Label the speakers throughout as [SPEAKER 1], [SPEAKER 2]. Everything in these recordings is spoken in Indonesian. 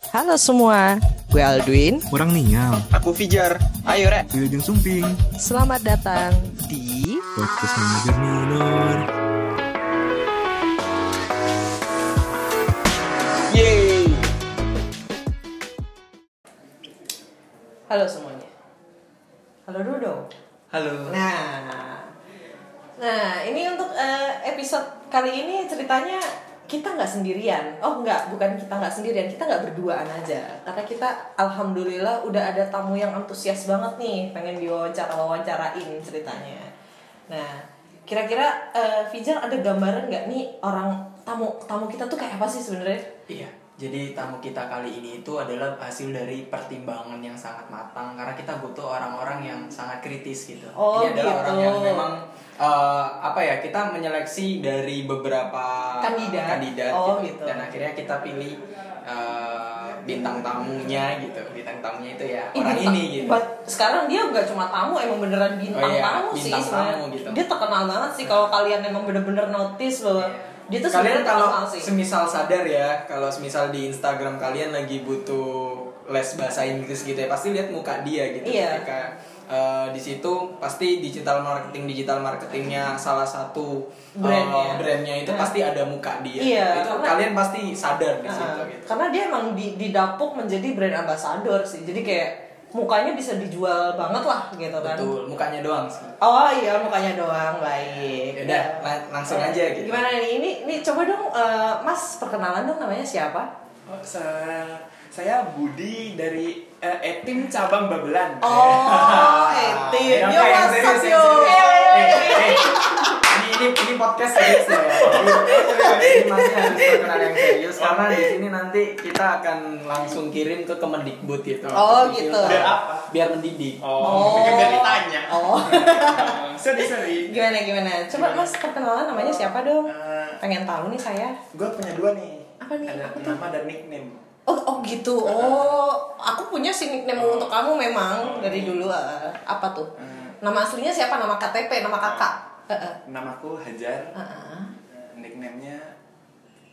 [SPEAKER 1] Halo semua, gue Alduin.
[SPEAKER 2] Kurang nial,
[SPEAKER 3] Aku Fijar. Ayo, Rek.
[SPEAKER 2] Wilujeng Sumping,
[SPEAKER 1] Selamat datang di
[SPEAKER 2] podcast manajer minor.
[SPEAKER 3] Yeay.
[SPEAKER 1] Halo semuanya. Halo Dodo.
[SPEAKER 3] Halo.
[SPEAKER 1] Nah, nah ini untuk eh, episode kali ini ceritanya kita nggak sendirian. Oh nggak, bukan kita nggak sendirian, kita nggak berduaan aja. Karena kita alhamdulillah udah ada tamu yang antusias banget nih, pengen diwawancara wawancarain ceritanya. Nah, kira-kira eh, Fijar ada gambaran nggak nih orang tamu tamu kita tuh kayak apa sih sebenarnya?
[SPEAKER 4] Iya, jadi tamu kita kali ini itu adalah hasil dari pertimbangan yang sangat matang karena kita butuh orang-orang yang sangat kritis gitu.
[SPEAKER 1] Oh,
[SPEAKER 4] Ini adalah
[SPEAKER 1] gitu.
[SPEAKER 4] orang yang memang eh, apa ya kita menyeleksi dari beberapa
[SPEAKER 1] Kandidat.
[SPEAKER 4] kandidat
[SPEAKER 1] Oh,
[SPEAKER 4] gitu.
[SPEAKER 1] gitu.
[SPEAKER 4] dan akhirnya kita pilih eh, bintang tamunya gitu. Bintang tamunya itu ya orang
[SPEAKER 1] bintang-
[SPEAKER 4] ini gitu.
[SPEAKER 1] ba- Sekarang dia nggak cuma tamu, emang beneran bintang
[SPEAKER 4] Oh iya,
[SPEAKER 1] tamu sih
[SPEAKER 4] bintang
[SPEAKER 1] sebenarnya.
[SPEAKER 4] tamu gitu.
[SPEAKER 1] Dia terkenal banget sih kalau kalian emang bener-bener notice loh. Dia tuh
[SPEAKER 4] kalian
[SPEAKER 1] sebenarnya terkenal
[SPEAKER 4] kalau
[SPEAKER 1] sih.
[SPEAKER 4] semisal sadar ya kalau semisal di Instagram kalian lagi butuh les bahasa Inggris gitu ya pasti lihat muka dia gitu
[SPEAKER 1] Iya.
[SPEAKER 4] ketika eh, di situ pasti digital marketing digital marketingnya salah satu eh,
[SPEAKER 1] Brandnya.
[SPEAKER 4] brandnya itu
[SPEAKER 1] Nah.
[SPEAKER 4] pasti ada muka dia
[SPEAKER 1] Iya,
[SPEAKER 4] itu
[SPEAKER 1] karena-
[SPEAKER 4] kalian pasti sadar di situ
[SPEAKER 1] Nah,
[SPEAKER 4] gitu
[SPEAKER 1] Karena dia emang di- didapuk menjadi brand ambassador sih. Jadi kayak mukanya bisa dijual banget lah gitu kan.
[SPEAKER 4] betul mukanya doang sih
[SPEAKER 1] Oh iya mukanya doang baik. Iya.
[SPEAKER 4] Yaudah, lang- Ya langsung aja gitu.
[SPEAKER 1] Gimana nih ini? Nih coba dong eh, Mas perkenalan dong namanya siapa?
[SPEAKER 5] saya, Oh, saya Budi dari eh, Etim cabang Babelan.
[SPEAKER 1] Oh, Etin.
[SPEAKER 5] Yang
[SPEAKER 1] Yo,
[SPEAKER 5] kayak
[SPEAKER 1] what's up,
[SPEAKER 5] serius,
[SPEAKER 1] yo?
[SPEAKER 5] serius, serius. Eh, eh,
[SPEAKER 4] ini ini ini podcast serius loh ya. Jadi, oh, iya, Ini masih harus terkenal yang serius karena di sini nanti kita akan langsung kirim ke Kemendikbud gitu.
[SPEAKER 1] Oh, gitu.
[SPEAKER 5] Biar apa?
[SPEAKER 4] Biar mendidik.
[SPEAKER 5] Oh, pikir biar ditanya.
[SPEAKER 1] Oh.
[SPEAKER 5] Eh, Sorry, sorry.
[SPEAKER 1] Gimana gimana? Coba Mas perkenalan namanya siapa dong?
[SPEAKER 5] Eh,
[SPEAKER 1] Pengen tahu nih saya.
[SPEAKER 5] gue punya dua nih.
[SPEAKER 1] Apa nih?
[SPEAKER 5] Ada
[SPEAKER 1] Apa tuh?
[SPEAKER 5] nama dan nickname.
[SPEAKER 1] Oh, oh gitu. Oh, aku punya si nickname untuk kamu memang dari dulu. eh, apa tuh?
[SPEAKER 5] Eh,
[SPEAKER 1] Nama aslinya siapa? Nama KTP, nama kakak. Eh, Heeh.
[SPEAKER 5] namaku Hajar.
[SPEAKER 1] Heeh.
[SPEAKER 5] Nicknamenya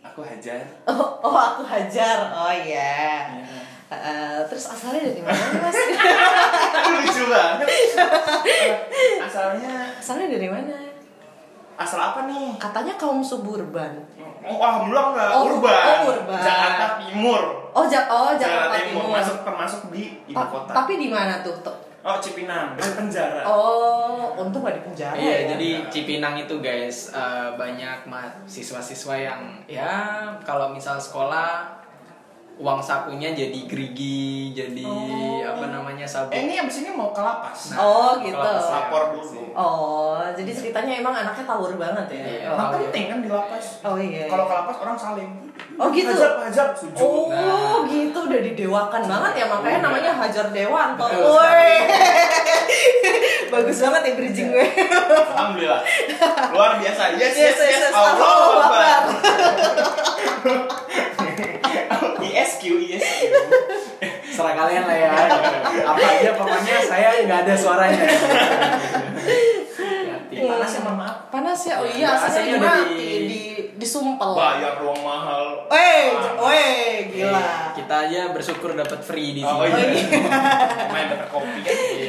[SPEAKER 5] aku Hajar.
[SPEAKER 1] Oh, oh, aku hajar. Oh iya.
[SPEAKER 5] Iya.
[SPEAKER 1] Heeh, terus asalnya dari mana nih, Mas?
[SPEAKER 5] Lucu banget. Eh, Asalnya
[SPEAKER 1] asalnya dari mana?
[SPEAKER 5] asal apa nih?
[SPEAKER 1] Katanya kaum suburban.
[SPEAKER 5] Oh, alhamdulillah enggak
[SPEAKER 1] Oh,
[SPEAKER 5] urban.
[SPEAKER 1] oh, urban.
[SPEAKER 5] Jakarta Timur.
[SPEAKER 1] Oh, ja oh
[SPEAKER 5] Jakarta
[SPEAKER 1] Jakarta
[SPEAKER 5] Timur
[SPEAKER 1] Timur.
[SPEAKER 5] masuk termasuk di ibu
[SPEAKER 1] Ta-
[SPEAKER 5] kota.
[SPEAKER 1] tapi di mana tuh? Tuh.
[SPEAKER 5] Oh Cipinang, kan penjara.
[SPEAKER 1] Oh, untung gak di penjara.
[SPEAKER 4] Iya,
[SPEAKER 1] ya.
[SPEAKER 4] jadi Cipinang itu guys eh, banyak mahasiswa siswa yang ya kalau misal sekolah uang sakunya jadi gerigi, jadi
[SPEAKER 1] Oh.
[SPEAKER 4] apa namanya sabuk.
[SPEAKER 5] Eh ini abis ini mau ke lapas.
[SPEAKER 4] Nah,
[SPEAKER 1] Oh, gitu.
[SPEAKER 4] kalau saya-
[SPEAKER 5] Lapor dulu.
[SPEAKER 1] Oh, jadi ceritanya emang anaknya tawur banget ya?
[SPEAKER 4] Iya.
[SPEAKER 1] Oh,
[SPEAKER 5] Nah,
[SPEAKER 4] iya.
[SPEAKER 5] penting kan di lapas.
[SPEAKER 1] Oh, iya.
[SPEAKER 5] Kalau ke lapas orang saling.
[SPEAKER 1] Oh, gitu?
[SPEAKER 5] Hajar, hajar, sujud.
[SPEAKER 1] Oh,
[SPEAKER 4] Nah.
[SPEAKER 1] gitu udah didewakan banget ya makanya
[SPEAKER 5] Iya.
[SPEAKER 4] Udah.
[SPEAKER 1] namanya Hajar Dewanto.
[SPEAKER 4] Betul
[SPEAKER 1] Woi. Bagus banget ya bridging gue.
[SPEAKER 5] Alhamdulillah. Luar biasa. Iya. Yes, yes, yes.
[SPEAKER 1] Yes, yes,
[SPEAKER 5] Allah
[SPEAKER 1] Allahu
[SPEAKER 5] Akbar.
[SPEAKER 1] Akbar.
[SPEAKER 5] ISQ, ISQ.
[SPEAKER 4] serah kalian lah ya apa aja pokoknya saya nggak ada suaranya
[SPEAKER 1] Iya.
[SPEAKER 5] Panas ya, mohon maaf.
[SPEAKER 1] Panas ya. Oh iya,
[SPEAKER 4] Nah,
[SPEAKER 1] asalnya
[SPEAKER 4] asalnya
[SPEAKER 1] udah
[SPEAKER 4] udah
[SPEAKER 1] di
[SPEAKER 4] di-
[SPEAKER 1] di disumpel.
[SPEAKER 5] Bayar ruang mahal.
[SPEAKER 1] Woi, woi, gila.
[SPEAKER 5] Iya.
[SPEAKER 4] kita aja bersyukur dapat free di sini
[SPEAKER 5] Oh
[SPEAKER 1] Oh,
[SPEAKER 5] iya.
[SPEAKER 1] iya.
[SPEAKER 5] Main dapat kopi.
[SPEAKER 4] Free,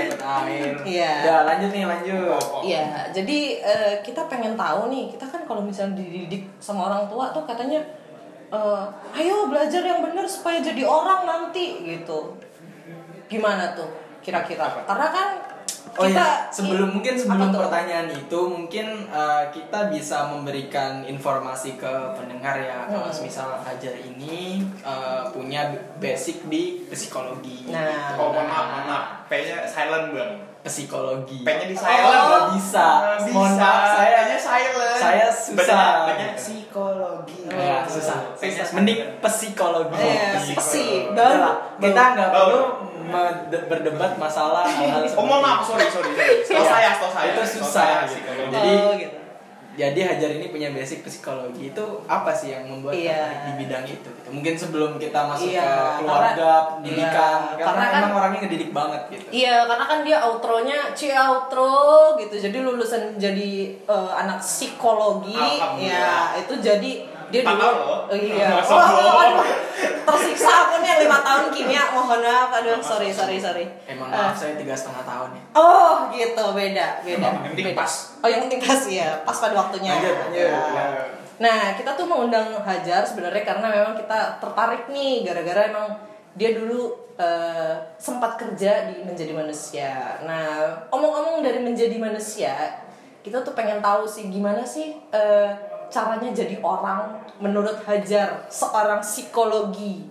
[SPEAKER 4] dapat air
[SPEAKER 1] Iya.
[SPEAKER 4] udah lanjut nih lanjut
[SPEAKER 5] Oh,
[SPEAKER 1] Iya, jadi eh, kita pengen tahu nih, kita kan kalau misalnya dididik sama orang tua tuh katanya, eh, ayo belajar yang benar supaya jadi orang nanti gitu. Gimana tuh kira-kira? Karena kan kita
[SPEAKER 4] Oh iya, sebelum
[SPEAKER 1] i-
[SPEAKER 4] mungkin sebelum
[SPEAKER 1] apa tuh?
[SPEAKER 4] pertanyaan itu mungkin uh, kita bisa memberikan informasi ke pendengar ya kalau
[SPEAKER 1] Hmm.
[SPEAKER 4] misal Hajar ini uh, punya basic di psikologi.
[SPEAKER 1] Nah.
[SPEAKER 5] Oh mohon maaf, mohon maaf. P-nya silent bang.
[SPEAKER 4] Psikologi.
[SPEAKER 5] P-nya di silent.
[SPEAKER 1] Oh,
[SPEAKER 4] nggak bisa. Mohon maaf, saya
[SPEAKER 5] P-nya silent.
[SPEAKER 4] saya susah.
[SPEAKER 5] Banyak, banyak psikologi.
[SPEAKER 4] Ya, susah. Mending psikologi.
[SPEAKER 1] Iya,
[SPEAKER 5] psikologi.
[SPEAKER 1] pesi,
[SPEAKER 4] Udah
[SPEAKER 1] baru
[SPEAKER 4] lah, kita nggak
[SPEAKER 5] Bau.
[SPEAKER 4] perlu mede- berdebat masalah hal-hal
[SPEAKER 5] Oh
[SPEAKER 4] seperti
[SPEAKER 5] mohon maaf,
[SPEAKER 4] itu.
[SPEAKER 5] sorry, sorry. sorry. Setahu
[SPEAKER 4] Iya.
[SPEAKER 5] saya, setahu saya.
[SPEAKER 4] Itu
[SPEAKER 5] Setahu
[SPEAKER 4] susah,
[SPEAKER 5] saya,
[SPEAKER 4] gitu.
[SPEAKER 5] psikologi.
[SPEAKER 4] Jadi,
[SPEAKER 1] Oh, gitu.
[SPEAKER 4] Jadi Hajar ini punya basic psikologi itu apa sih yang membuat
[SPEAKER 1] Iya.
[SPEAKER 4] tertarik di bidang itu? gitu? Mungkin sebelum kita masuk
[SPEAKER 1] Iya,
[SPEAKER 4] ke keluarga,
[SPEAKER 1] karena-
[SPEAKER 4] pendidikan,
[SPEAKER 1] iya,
[SPEAKER 4] karena,
[SPEAKER 1] karena kan-
[SPEAKER 4] emang orangnya ngedidik banget gitu.
[SPEAKER 1] Iya, karena kan dia outro-nya C outro gitu. Jadi lulusan jadi eh, anak psikologi ya,
[SPEAKER 5] Alhamdulillah.
[SPEAKER 1] itu jadi dia
[SPEAKER 5] Papa
[SPEAKER 1] dulu
[SPEAKER 5] lo.
[SPEAKER 1] Iya.
[SPEAKER 5] Masa lo?
[SPEAKER 1] aduh, kimia mohon maaf aduh sorry sorry sorry
[SPEAKER 4] Emang
[SPEAKER 1] Eh,
[SPEAKER 4] maaf saya tiga setengah tahun ya.
[SPEAKER 1] oh gitu beda beda
[SPEAKER 5] Yang penting
[SPEAKER 1] beda.
[SPEAKER 5] pas.
[SPEAKER 1] oh yang penting pas ya pas pada waktunya
[SPEAKER 5] Lanjut, lanjut. Iya.
[SPEAKER 1] Ya. Nah, kita tuh mengundang Hajar sebenarnya karena memang kita tertarik nih gara-gara emang dia dulu eh, sempat kerja di Menjadi Manusia. Nah, omong-omong dari Menjadi Manusia, kita tuh pengen tahu sih gimana sih eh, caranya jadi orang menurut Hajar seorang psikologi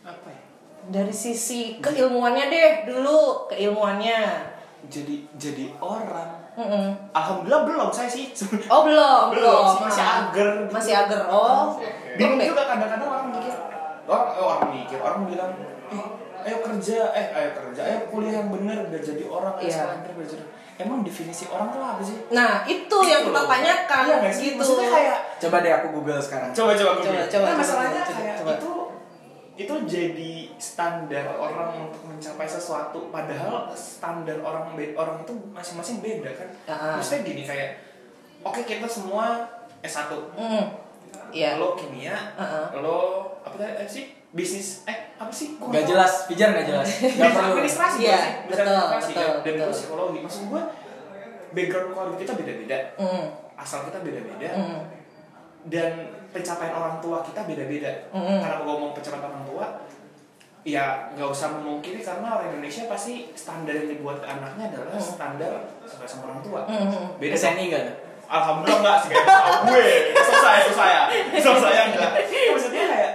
[SPEAKER 5] Apa ya?
[SPEAKER 1] dari sisi keilmuannya deh dulu keilmuannya.
[SPEAKER 5] Jadi jadi orang.
[SPEAKER 1] Mm-mm.
[SPEAKER 5] Alhamdulillah belum saya sih.
[SPEAKER 1] Oh belum,
[SPEAKER 5] Belum,
[SPEAKER 1] belum.
[SPEAKER 5] masih
[SPEAKER 1] Ah,
[SPEAKER 5] ager gitu.
[SPEAKER 1] Masih ager. Oh. Belum
[SPEAKER 5] Bingung
[SPEAKER 1] deh.
[SPEAKER 5] juga kadang-kadang Iya. orang mikir. Orang eh, orang mikir, orang bilang, "Eh, ayo kerja, eh ayo kerja, ayo kuliah yang bener udah jadi orang, Eh, ayo
[SPEAKER 1] Iya.
[SPEAKER 5] sekolah yang bener udah jadi." Emang definisi orang tuh apa sih?
[SPEAKER 1] Nah, itu yang kita tanyakan
[SPEAKER 5] Iya nggak sih?
[SPEAKER 1] gitu.
[SPEAKER 5] Maksudnya kayak
[SPEAKER 4] Coba deh aku Google sekarang.
[SPEAKER 5] coba coba
[SPEAKER 1] Coba,
[SPEAKER 5] coba,
[SPEAKER 1] coba,
[SPEAKER 5] Nah, masalahnya
[SPEAKER 1] coba,
[SPEAKER 5] kayak
[SPEAKER 1] coba.
[SPEAKER 5] itu itu jadi standar orang untuk mencapai sesuatu padahal standar orang be- orang itu masing-masing beda kan
[SPEAKER 1] Ah.
[SPEAKER 5] maksudnya gini kayak oke kita semua S1
[SPEAKER 1] Hmm. Iya.
[SPEAKER 5] lo kimia
[SPEAKER 1] Ah,
[SPEAKER 5] lo apa tadi eh, sih bisnis eh apa sih
[SPEAKER 4] Gak
[SPEAKER 5] Gua nggak tahu.
[SPEAKER 4] jelas, pijar gak jelas. Gak
[SPEAKER 5] Bisnis
[SPEAKER 4] perlu.
[SPEAKER 5] administrasi
[SPEAKER 1] Iya,
[SPEAKER 5] bukan sih? Bisnis
[SPEAKER 1] betul,
[SPEAKER 5] administrasi, ya.
[SPEAKER 1] betul,
[SPEAKER 5] dan, dan
[SPEAKER 1] betul.
[SPEAKER 5] gue psikologi maksud gue background keluarga kita beda-beda
[SPEAKER 1] Hmm.
[SPEAKER 5] asal kita beda-beda
[SPEAKER 1] Hmm.
[SPEAKER 5] dan pencapaian orang tua kita beda-beda.
[SPEAKER 1] Mm-mm.
[SPEAKER 5] Karena gue ngomong pencapaian orang tua, ya nggak usah memungkiri karena orang Indonesia pasti standar yang dibuat ke anaknya adalah standar sesuai sama orang tua.
[SPEAKER 1] Mm. Mm-mm.
[SPEAKER 5] Beda sih.
[SPEAKER 4] SNI gak?
[SPEAKER 5] Alhamdulillah enggak sih kayak tahu gue. Selesai, selesai. Selesai enggak. Maksudnya kayak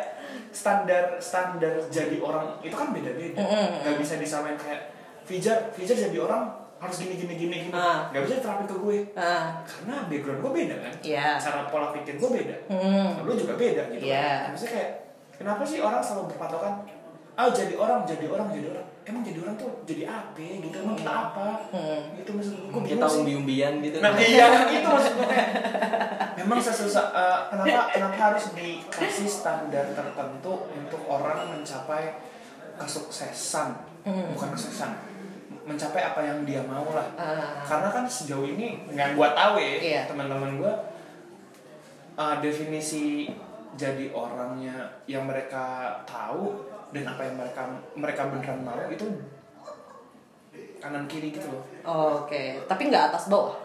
[SPEAKER 5] standar standar jadi orang itu kan beda-beda.
[SPEAKER 1] Mm-mm.
[SPEAKER 5] Nggak bisa disamain kayak Fijar, Fijar jadi orang harus gini gini gini gini.
[SPEAKER 1] Ah.
[SPEAKER 5] Nggak bisa diterapin ke gue
[SPEAKER 1] Ah.
[SPEAKER 5] karena background gue beda kan
[SPEAKER 1] Iya.
[SPEAKER 5] cara pola pikir gue beda
[SPEAKER 1] Hmm.
[SPEAKER 5] lu juga beda gitu
[SPEAKER 1] Iya.
[SPEAKER 5] kan maksudnya kayak kenapa sih orang selalu berpatokan ah jadi orang jadi orang jadi orang emang jadi orang tuh jadi apa gitu emang kita apa
[SPEAKER 1] Hmm.
[SPEAKER 5] gitu maksud gue
[SPEAKER 4] Mungkin
[SPEAKER 5] bingung
[SPEAKER 4] tahun
[SPEAKER 5] sih
[SPEAKER 4] umbi-umbian gitu.
[SPEAKER 5] nah iya itu maksud gue kayak memang sesusah eh, kenapa kenapa harus dikasih standar tertentu untuk orang mencapai kesuksesan bukan kesuksesan mencapai apa yang dia mau lah
[SPEAKER 1] Ah.
[SPEAKER 5] karena kan sejauh ini nggak gua tahu ya
[SPEAKER 1] Iya.
[SPEAKER 5] teman-teman gua uh, definisi jadi orangnya yang mereka tahu dan apa yang mereka mereka beneran mau itu kanan kiri gitu loh
[SPEAKER 1] Oke, tapi nggak atas bawah.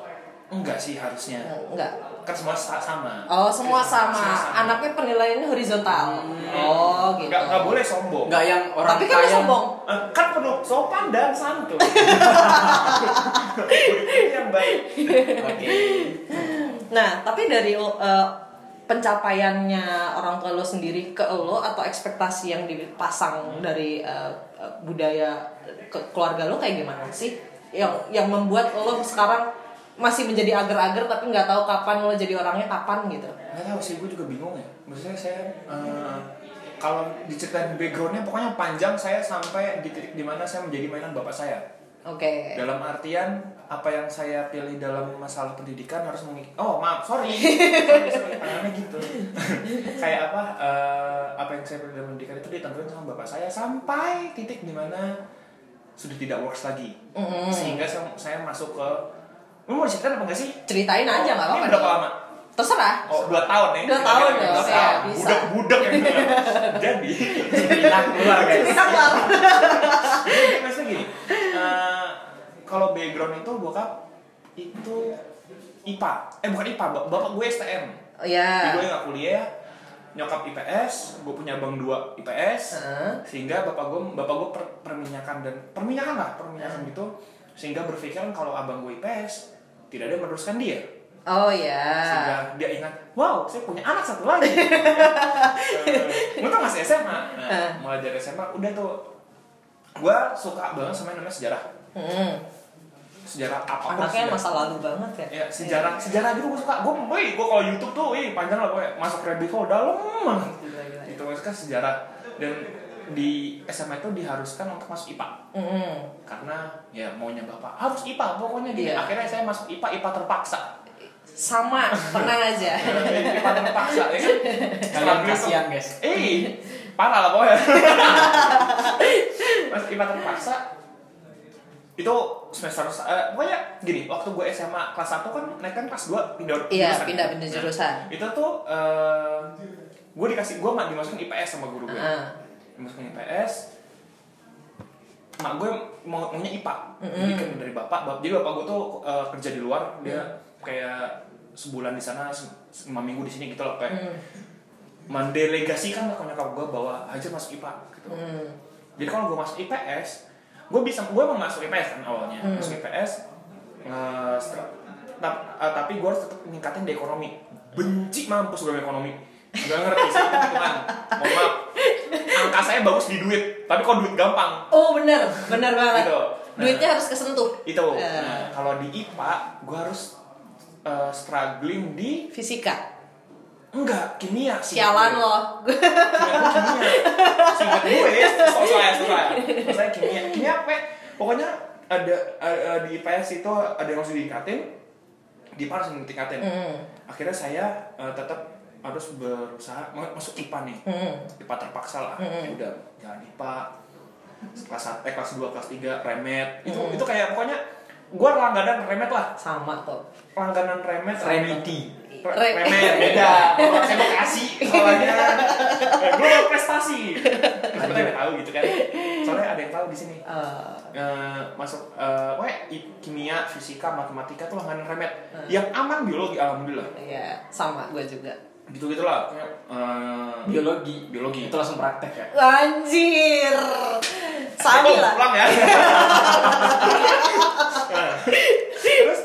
[SPEAKER 5] enggak sih harusnya
[SPEAKER 1] Enggak.
[SPEAKER 5] kan semua sa- sama Iya,
[SPEAKER 1] Oh, semua sama.
[SPEAKER 5] Semua Hmm.
[SPEAKER 1] Anaknya penilaiannya horizontal. Oh, gitu.
[SPEAKER 5] nggak nggak boleh sombong
[SPEAKER 4] Gak yang orang
[SPEAKER 1] Tapi kan lu
[SPEAKER 4] kaya.
[SPEAKER 1] sombong.
[SPEAKER 5] Eh, kan penuh sopan dan santun Itu yang baik
[SPEAKER 4] Oke.
[SPEAKER 1] Nah, tapi dari eh, pencapaiannya orang tua lo sendiri ke lo atau ekspektasi yang dipasang dari eh, eh, budaya ke- keluarga lo kayak gimana sih? Yang yang membuat lo sekarang masih menjadi ager-ager tapi nggak tahu kapan lo jadi orangnya kapan gitu.
[SPEAKER 5] nggak tahu sih gue juga bingung ya maksudnya saya eh, kalau diceritain backgroundnya pokoknya panjang saya sampai di titik dimana saya menjadi mainan bapak saya
[SPEAKER 1] Oke.
[SPEAKER 5] dalam artian apa yang saya pilih dalam masalah pendidikan harus mengik oh maaf sorry, sorry, tangannya gitu kayak apa eh, apa yang saya pilih dalam pendidikan itu ditentuin sama bapak saya sampai titik dimana sudah tidak works lagi
[SPEAKER 1] Mm-mm.
[SPEAKER 5] sehingga saya, saya masuk ke lu mau ceritain apa enggak sih
[SPEAKER 1] Ceritain aja nggak
[SPEAKER 5] Ini
[SPEAKER 1] apa-apa.
[SPEAKER 5] berapa
[SPEAKER 1] nih.
[SPEAKER 5] lama
[SPEAKER 1] Terserah.
[SPEAKER 5] Oh, dua tahun ya?
[SPEAKER 1] Dua tahun
[SPEAKER 5] Dua
[SPEAKER 1] dong,
[SPEAKER 5] tahun.
[SPEAKER 1] ya, bisa.
[SPEAKER 5] Budak-budak yang bilang. Jadi, bilang keluar guys.
[SPEAKER 1] Cerita keluar.
[SPEAKER 5] Jadi, Iya, Maksudnya gini, eh, kalau background itu bokap itu IPA. Eh bukan IPA, bap- bapak gue STM.
[SPEAKER 1] Oh, ya.
[SPEAKER 5] Jadi gue nggak kuliah, nyokap IPS, gue punya abang dua IPS,
[SPEAKER 1] Heeh.
[SPEAKER 5] sehingga bapak gue bapak gue per- perminyakan dan perminyakan lah perminyakan gitu, sehingga berpikiran kalau abang gue IPS tidak ada yang meneruskan dia
[SPEAKER 1] Oh ya.
[SPEAKER 5] sehingga dia ingat wow saya punya anak satu lagi Nah, gue tuh masih SMA
[SPEAKER 1] Eh.
[SPEAKER 5] nah, mulai dari SMA udah tuh gue suka banget sama yang namanya sejarah
[SPEAKER 1] Mm-mm.
[SPEAKER 5] sejarah
[SPEAKER 1] Hmm.
[SPEAKER 5] apa
[SPEAKER 1] Anaknya masa lalu banget ya.
[SPEAKER 5] ya sejarah sejarah gitu gue suka gue wih gue kalau YouTube tuh wih panjang lah gue masuk rabbit hole dalam banget
[SPEAKER 1] Gila-gila.
[SPEAKER 5] itu maksudnya kan sejarah dan di SMA itu diharuskan untuk masuk IPA
[SPEAKER 1] Mm-mm.
[SPEAKER 5] karena ya maunya bapak harus IPA pokoknya gitu
[SPEAKER 1] Iya.
[SPEAKER 5] akhirnya saya masuk IPA IPA terpaksa
[SPEAKER 1] Sama, tenang aja.
[SPEAKER 5] IPA terpaksa ya kan
[SPEAKER 4] Kalian
[SPEAKER 5] Struggling tuh.
[SPEAKER 4] kasihan guys.
[SPEAKER 5] Eh, parah lah pokoknya. Mas IPA terpaksa itu semester eh, pokoknya gini waktu gue SMA kelas 1 kan naik kan kelas 2 pindah
[SPEAKER 1] Iya,
[SPEAKER 5] jurusan. Nah,
[SPEAKER 1] pindah- pindah jurusan. Ah,
[SPEAKER 5] itu tuh eh gue dikasih gue mah dimasukin IPS sama guru gue
[SPEAKER 1] Heeh.
[SPEAKER 5] masuk IPS mak gue mau maunya IPA jadi kan dari bapak bap- jadi bapak gue tuh eh, kerja di luar dia kayak sebulan di sana se- se- lima minggu di sini gitu loh kayak mendelegasikan lah ke nyokap gue bahwa Hajar masuk IPA gitu jadi kalau gue masuk IPS gue bisa gue emang masuk IPS kan awalnya masuk IPS eh, setel- tap- eh, tapi gue harus tetap ningkatin di ekonomi benci mampus gue sama ekonomi gak ngerti sih Tuhan mohon maaf angka saya bagus di duit tapi kok duit gampang
[SPEAKER 1] Oh benar, benar banget.
[SPEAKER 5] Gitu.
[SPEAKER 1] Duitnya harus kesentuh.
[SPEAKER 5] itu
[SPEAKER 1] Eh.
[SPEAKER 5] nah, kalau di IPA gue harus eh, struggling di
[SPEAKER 1] Fisika.
[SPEAKER 5] enggak kimia sih
[SPEAKER 1] Sialan
[SPEAKER 5] Gue.
[SPEAKER 1] loh.
[SPEAKER 5] Singkat gue, sok saya Saya kimia, kimia apa? ya? Pokoknya ada eh, di IPS itu ada yang harus ditingkatin, di IPA harus ditingkatin.
[SPEAKER 1] Hmm.
[SPEAKER 5] Akhirnya saya eh, tetap harus berusaha ma- masuk IPA nih.
[SPEAKER 1] Hmm.
[SPEAKER 5] IPA terpaksa lah. Ya udah, jangan IPA. Kelas sat- eh, kelas 2, kelas 3 remet. Itu itu kayak pokoknya gua langganan remet lah.
[SPEAKER 1] Sama tuh.
[SPEAKER 5] Langganan remet.
[SPEAKER 4] Remedi.
[SPEAKER 5] Re-
[SPEAKER 1] Re-
[SPEAKER 5] Remet beda. Kalau saya Bekasi, soalnya gue mau prestasi. Tapi nggak tahu gitu kan. Soalnya ada yang tahu di sini.
[SPEAKER 1] Eh,
[SPEAKER 5] Eh, masuk eh pokoknya i- kimia, fisika, matematika tuh langganan remet. Yang aman biologi alhamdulillah.
[SPEAKER 1] ya sama gue juga.
[SPEAKER 5] Gitu-gitu lah. pokoknya, eh,
[SPEAKER 4] Biologi.
[SPEAKER 5] Biologi.
[SPEAKER 4] Itu langsung praktek ya.
[SPEAKER 1] Anjir. Sami
[SPEAKER 5] Eh, oh,
[SPEAKER 1] lah.
[SPEAKER 5] Pulang ya. Nah, Terus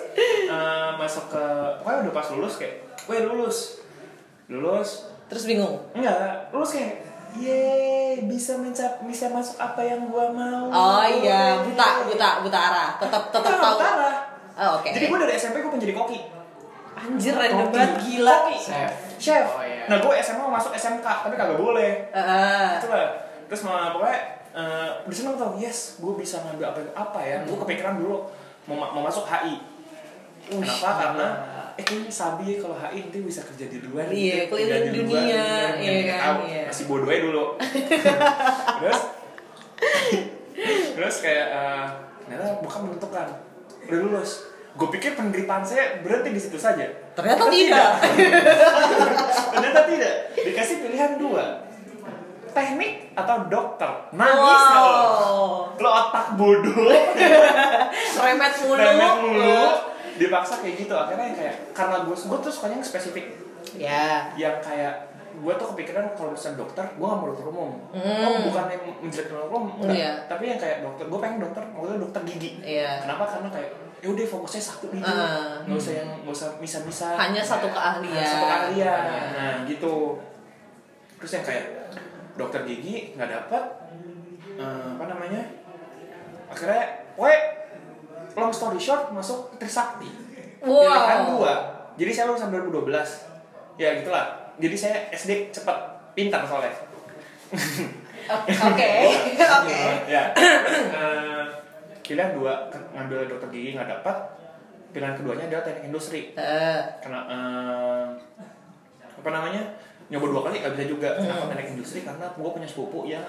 [SPEAKER 5] eh, masuk ke pokoknya udah pas lulus kayak, gue lulus. Lulus,
[SPEAKER 1] Terus bingung.
[SPEAKER 5] Enggak, lulus kayak Yeay, bisa mencap bisa masuk apa yang gua mau.
[SPEAKER 1] Oh iya, buta, buta, buta arah. Tetap, tetap
[SPEAKER 5] Enggak,
[SPEAKER 1] tahu.
[SPEAKER 5] buta arah.
[SPEAKER 1] Oh, oke.
[SPEAKER 5] Jadi gua dari SMP gua menjadi koki.
[SPEAKER 1] Anjir random banget gila.
[SPEAKER 4] Chef.
[SPEAKER 5] Chef.
[SPEAKER 4] Oh iya.
[SPEAKER 5] Nah, gua SMA mau masuk SMK, tapi kagak boleh.
[SPEAKER 1] Heeh.
[SPEAKER 5] Itu Gitu lah. Terus malah pokoknya eh di sana tau, yes, gua bisa ngambil apa apa ya.
[SPEAKER 1] Hmm.
[SPEAKER 5] Gua kepikiran dulu mau, ma- mau masuk HI.
[SPEAKER 1] iya.
[SPEAKER 5] Kenapa? Karena eh kayaknya sabi ya kalau HI nanti bisa kerja di luar
[SPEAKER 1] Iya,
[SPEAKER 5] gitu.
[SPEAKER 1] keliling
[SPEAKER 5] Kerja di luar,
[SPEAKER 1] dunia,
[SPEAKER 5] yang
[SPEAKER 1] iya
[SPEAKER 5] kita
[SPEAKER 1] kan,
[SPEAKER 5] tahu.
[SPEAKER 1] iya.
[SPEAKER 5] masih bodoh aja dulu terus terus kayak eh, ternyata bukan menentukan udah lulus gue pikir penderitaan saya berhenti di situ saja
[SPEAKER 1] Ternyata tidak.
[SPEAKER 5] ternyata tidak dikasih pilihan dua teknik atau dokter nangis nggak lo?
[SPEAKER 1] Wow.
[SPEAKER 5] lo otak bodoh
[SPEAKER 1] Remet mulu.
[SPEAKER 5] Remet mulu dipaksa kayak gitu akhirnya yang kayak karena gue gue tuh sukanya yang spesifik
[SPEAKER 1] Ya.
[SPEAKER 5] yang kayak gue tuh kepikiran kalau misalnya dokter gue gak mau dokter umum oh, bukan yang menjelek dokter umum enggak.
[SPEAKER 1] Hmm. Iya.
[SPEAKER 5] tapi yang kayak dokter gue pengen dokter maksudnya dokter gigi
[SPEAKER 1] Iya.
[SPEAKER 5] kenapa karena kayak ya udah fokusnya satu gitu
[SPEAKER 1] Ah.
[SPEAKER 5] nggak usah yang nggak usah bisa bisa
[SPEAKER 1] Hanya satu keahlian.
[SPEAKER 5] satu keahlian
[SPEAKER 1] Iya.
[SPEAKER 5] nah gitu terus yang kayak dokter gigi nggak dapet eh, apa namanya akhirnya gue long story short masuk Trisakti
[SPEAKER 1] Wow.
[SPEAKER 5] pilihan dua jadi saya lulusan 2012 ya gitulah jadi saya SD cepet pintar soalnya
[SPEAKER 1] Oke. Oke.
[SPEAKER 5] ya Eh, pilihan dua ke- ngambil dokter gigi nggak dapat pilihan keduanya adalah teknik industri
[SPEAKER 1] Eh,
[SPEAKER 5] karena eh, apa namanya nyoba dua kali nggak bisa juga kenapa
[SPEAKER 1] Hmm.
[SPEAKER 5] teknik industri karena gue punya sepupu yang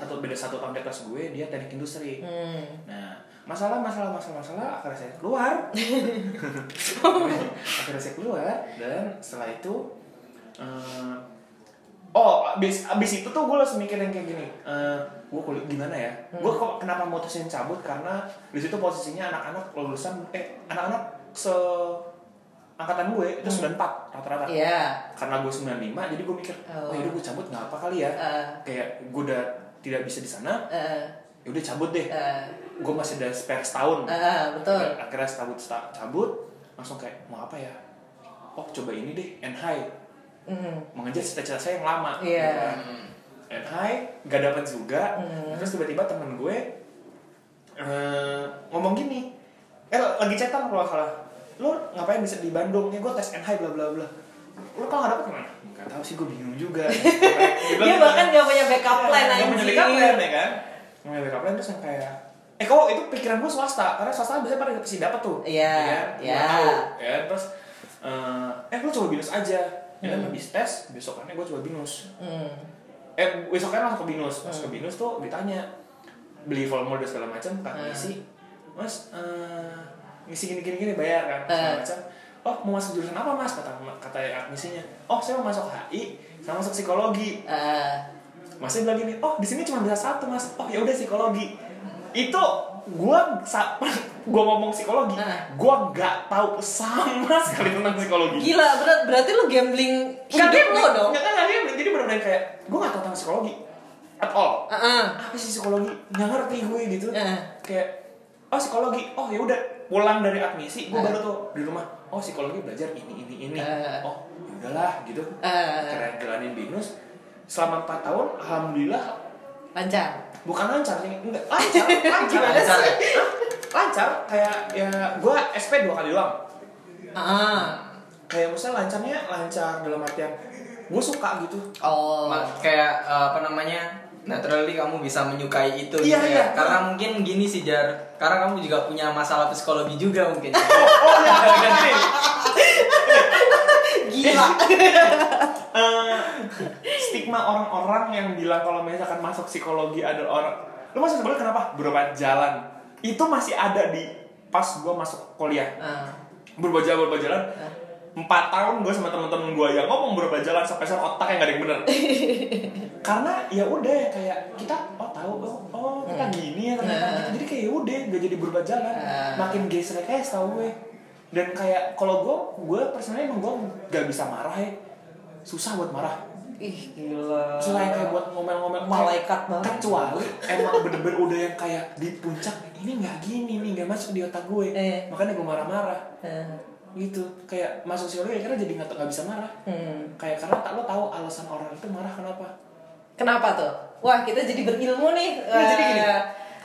[SPEAKER 5] satu beda satu tahun di kelas gue dia teknik industri
[SPEAKER 1] hmm.
[SPEAKER 5] Nah, masalah masalah masalah masalah akhirnya saya keluar. akhirnya saya keluar dan setelah itu eh, oh abis abis itu tuh gue langsung mikir yang kayak gini. eh, gue kulit gimana ya?
[SPEAKER 1] Hmm.
[SPEAKER 5] Gue kok kenapa mutusin cabut karena di situ posisinya anak-anak lulusan eh anak-anak se angkatan gue itu 94 rata-rata
[SPEAKER 1] Hmm. Iya.
[SPEAKER 5] karena gue 95 jadi gue mikir
[SPEAKER 1] Oh.
[SPEAKER 5] oh yaudah gue cabut nggak apa kali ya
[SPEAKER 1] Eh.
[SPEAKER 5] kayak gue udah tidak bisa di sana
[SPEAKER 1] Eh,
[SPEAKER 5] yaudah cabut deh
[SPEAKER 1] eh,
[SPEAKER 5] gue masih ada spare setahun
[SPEAKER 1] eh, betul.
[SPEAKER 5] akhirnya cabut sta- cabut langsung kayak mau apa ya oh coba ini deh NHI
[SPEAKER 1] Hmm.
[SPEAKER 5] mengejar cita-cita saya yang lama
[SPEAKER 1] Iya.
[SPEAKER 5] gitu kan. NHI gak dapat juga
[SPEAKER 1] Hmm.
[SPEAKER 5] terus tiba-tiba temen gue eh, ngomong gini eh lagi cetak kalau nggak salah lu ngapain bisa di Bandung ya gue tes NHI bla bla bla lu kalau nggak dapet gimana nggak tahu sih gue bingung juga Dia bilang
[SPEAKER 1] Dia
[SPEAKER 5] gitu.
[SPEAKER 1] bahkan gak punya backup plan
[SPEAKER 5] Iya,
[SPEAKER 1] anjir.
[SPEAKER 5] nggak punya backup plan ya kan Nggak punya backup plan terus yang kayak eh kok itu pikiran gue swasta karena swasta biasanya pada pasti dapat tuh
[SPEAKER 1] Iya,
[SPEAKER 5] ya kan? Gua
[SPEAKER 1] iya.
[SPEAKER 5] tahu ya kan? terus eh, eh lu coba binus aja ya kan habis tes besokannya gue coba binus
[SPEAKER 1] Hmm.
[SPEAKER 5] eh besoknya langsung ke binus pas ke binus tuh ditanya beli formulir dan segala macam kan
[SPEAKER 1] Hmm.
[SPEAKER 5] ngisi mas eh, ngisi gini gini gini bayar kan segala
[SPEAKER 1] Eh.
[SPEAKER 5] macam oh mau masuk jurusan apa ya, mas kata kata admisinya oh saya mau masuk HI sama masuk psikologi
[SPEAKER 1] Eh,
[SPEAKER 5] masnya bilang gini oh di sini cuma bisa satu mas oh ya udah psikologi itu gua sa- gua ngomong psikologi
[SPEAKER 1] Nah.
[SPEAKER 5] gua nggak tahu sama sekali tentang psikologi
[SPEAKER 1] Gila, berat berarti lu gambling hidup lo dong.
[SPEAKER 5] Nggak kan gambling, jadi benar-benar kayak gue nggak tahu tentang psikologi at all.
[SPEAKER 1] Heeh.
[SPEAKER 5] Apa sih psikologi? Nggak ngerti gue gitu.
[SPEAKER 1] Heeh.
[SPEAKER 5] Kayak oh psikologi, oh ya udah pulang dari admisi, gue
[SPEAKER 1] Heeh.
[SPEAKER 5] baru tuh di rumah. Oh psikologi belajar ini ini ini.
[SPEAKER 1] Heeh.
[SPEAKER 5] Oh ya udahlah gitu.
[SPEAKER 1] Heeh.
[SPEAKER 5] Karena jalanin binus selama 4 tahun, alhamdulillah
[SPEAKER 1] Lancar.
[SPEAKER 5] bukan lancar sih, enggak lancar, lancar,
[SPEAKER 1] Gimana
[SPEAKER 5] lancar,
[SPEAKER 1] sih?
[SPEAKER 5] Hah? lancar kayak ya gue SP dua kali doang
[SPEAKER 1] Heeh.
[SPEAKER 5] kayak misalnya lancarnya lancar dalam artian gue suka gitu
[SPEAKER 1] Oh.
[SPEAKER 4] Ma- kayak eh, apa namanya naturally kamu bisa menyukai itu
[SPEAKER 5] Iya,
[SPEAKER 4] gitu ya.
[SPEAKER 5] iya.
[SPEAKER 4] karena mungkin gini sih jar karena kamu juga punya masalah psikologi juga mungkin ya.
[SPEAKER 5] Oh, iya.
[SPEAKER 1] Gila.
[SPEAKER 5] Eh, stigma orang-orang yang bilang kalau misalkan masuk psikologi ada orang lu masuk psikologi kenapa berobat jalan itu masih ada di pas gua masuk kuliah
[SPEAKER 1] Heeh.
[SPEAKER 5] berobat jalan berobat jalan empat tahun gue sama temen-temen gue yang ngomong berobat jalan sampai sekarang otaknya nggak ada yang bener karena ya udah kayak kita oh tahu oh, oh kita gini ya ternyata
[SPEAKER 1] Nah.
[SPEAKER 5] gitu. jadi kayak ya udah nggak jadi berobat jalan
[SPEAKER 1] Nah.
[SPEAKER 5] makin gesrek aja tau gue dan kayak kalau gue gue personally emang gue nggak bisa marah ya susah buat marah
[SPEAKER 1] Ih, ya gila.
[SPEAKER 5] selain kayak buat ngomel-ngomel
[SPEAKER 1] Malaikat banget.
[SPEAKER 5] kecuali emang bener-bener udah yang kayak di puncak ini nggak gini nih nggak masuk di otak gue
[SPEAKER 1] Eh.
[SPEAKER 5] makanya gue marah-marah
[SPEAKER 1] Heeh.
[SPEAKER 5] gitu kayak masuk psikologi karena jadi nggak nggak bisa marah
[SPEAKER 1] Hmm.
[SPEAKER 5] kayak karena tak lo tahu alasan orang itu marah kenapa
[SPEAKER 1] Kenapa tuh? Wah, kita jadi berilmu nih.
[SPEAKER 5] Iya, jadi gini. Nah.
[SPEAKER 1] Eh,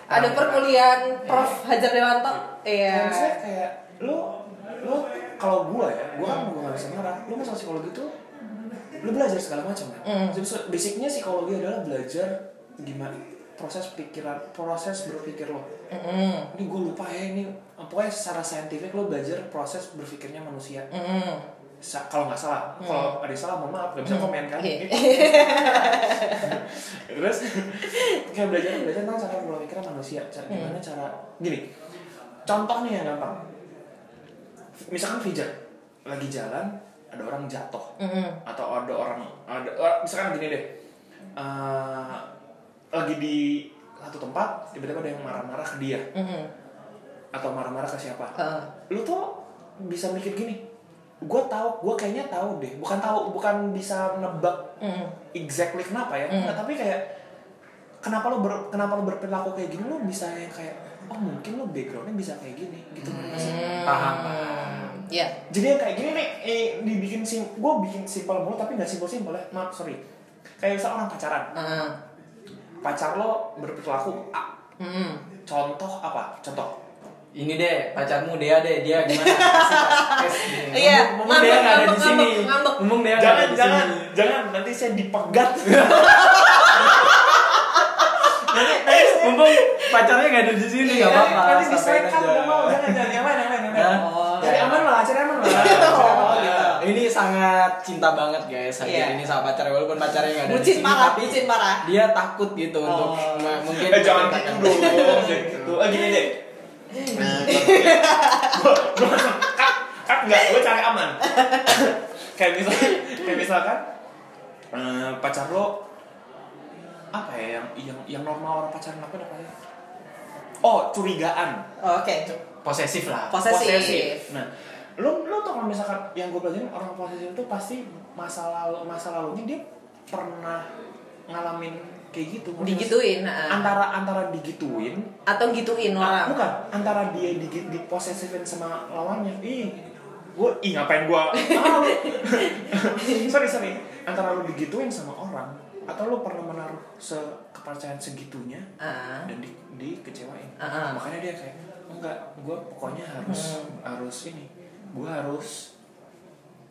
[SPEAKER 1] Ada perkuliahan Prof. Hajar Dewanto. Iya.
[SPEAKER 5] Maksudnya kayak lo lo kalau gua ya gua kan gua nggak bisa marah lo masuk psikologi tuh lo belajar segala macam kan
[SPEAKER 1] Hmm.
[SPEAKER 5] Jadi, so- basicnya psikologi adalah belajar gimana proses pikiran proses berpikir lo
[SPEAKER 1] Mm-mm.
[SPEAKER 5] ini gue lupa ya ini pokoknya secara saintifik lo belajar proses berpikirnya manusia
[SPEAKER 1] Mm-mm.
[SPEAKER 5] Sa- kalau nggak salah kalau ada yang salah mohon maaf nggak bisa komen kan
[SPEAKER 1] Iya.
[SPEAKER 5] terus kayak belajar belajar tentang cara pola pikir manusia cara gimana cara gini contoh nih yang gampang misalkan pijat lagi jalan ada orang jatuh
[SPEAKER 1] Mm-mm.
[SPEAKER 5] atau ada orang ada or- misalkan gini deh eh, lagi di satu tempat tiba-tiba ada yang marah-marah ke dia
[SPEAKER 1] Mm-mm.
[SPEAKER 5] atau marah-marah ke siapa
[SPEAKER 1] Mm-hmm. Heeh.
[SPEAKER 5] lu tuh bisa mikir gini gue tahu gue kayaknya tahu deh bukan tahu bukan bisa nebak
[SPEAKER 4] Hmm.
[SPEAKER 1] Mm.
[SPEAKER 5] exactly kenapa ya
[SPEAKER 1] Hmm.
[SPEAKER 5] Nah, tapi kayak kenapa lo ber- kenapa lo berperilaku kayak gini lo bisa yang kayak oh mungkin lo backgroundnya bisa kayak gini gitu
[SPEAKER 4] Hmm.
[SPEAKER 1] Hmm.
[SPEAKER 4] paham
[SPEAKER 1] Iya.
[SPEAKER 5] jadi yang kayak gini nih eh, dibikin sim gue bikin simpel mulu tapi nggak simpel simpel ya maaf sorry kayak misal orang pacaran
[SPEAKER 1] Heeh.
[SPEAKER 5] pacar lo berperilaku A.
[SPEAKER 1] Mm.
[SPEAKER 5] contoh apa contoh
[SPEAKER 4] ini deh pacarmu dia deh dia gimana Kasih tes gini.
[SPEAKER 1] Iya,
[SPEAKER 4] Mumpung- mumpung dia nggak ada di
[SPEAKER 1] ngambek,
[SPEAKER 4] sini
[SPEAKER 1] ngambek, ngambek.
[SPEAKER 4] mumpung dia nggak ada Ya,
[SPEAKER 5] jangan
[SPEAKER 4] di sini
[SPEAKER 5] jangan jangan nanti saya dipegat
[SPEAKER 4] mumpung pacarnya nggak ada di sini nggak
[SPEAKER 5] Iya,
[SPEAKER 4] apa-apa
[SPEAKER 5] nanti di
[SPEAKER 4] sampaikan
[SPEAKER 5] strike cut
[SPEAKER 4] aja.
[SPEAKER 5] nggak mau jangan jangan yang lain yang lain yang lain
[SPEAKER 1] Oh.
[SPEAKER 5] Cari aman lah cari aman lah
[SPEAKER 4] Oh,
[SPEAKER 5] gitu.
[SPEAKER 4] iya. Ini sangat cinta banget guys hari
[SPEAKER 1] gitu. Iya.
[SPEAKER 4] ini sama pacarnya walaupun pacarnya nggak ada di
[SPEAKER 1] Bucin
[SPEAKER 4] sini,
[SPEAKER 1] parah,
[SPEAKER 4] tapi
[SPEAKER 1] bucin Oh. parah.
[SPEAKER 4] dia takut gitu untuk ma- mungkin
[SPEAKER 5] eh jangan gitu
[SPEAKER 4] mengatakan-
[SPEAKER 5] dong jangan gitu eh gini deh Nah, gua gua langsung cut cut nggak gue cari aman kayak misalkan kayak misalkan eh, pacar lo apa ya yang yang yang normal orang pacaran lakuin apa ya oh curigaan
[SPEAKER 1] Oh, Oke.
[SPEAKER 4] posesif lah
[SPEAKER 1] Posesif.
[SPEAKER 5] Nah, lo lo tau kalau misalkan yang gue pelajarin orang posesif itu pasti masa lalu masa lalunya dia pernah ngalamin kayak gitu. Mungkin
[SPEAKER 1] Digituin. heeh.
[SPEAKER 5] Antara antara digituin,
[SPEAKER 1] ah. Atau gituin
[SPEAKER 5] ah,
[SPEAKER 1] orang.
[SPEAKER 5] bukan antara dia digit diposesifin sama lawannya. Ih, gue ih ngapain gue? sorry sorry. Antara lo digituin sama orang atau lo pernah menaruh sekepercayaan segitunya
[SPEAKER 1] Heeh.
[SPEAKER 5] dan di, dikecewain
[SPEAKER 1] Ah, ah.
[SPEAKER 5] makanya dia kayak enggak gue pokoknya harus
[SPEAKER 1] Hmm.
[SPEAKER 5] harus ini gue harus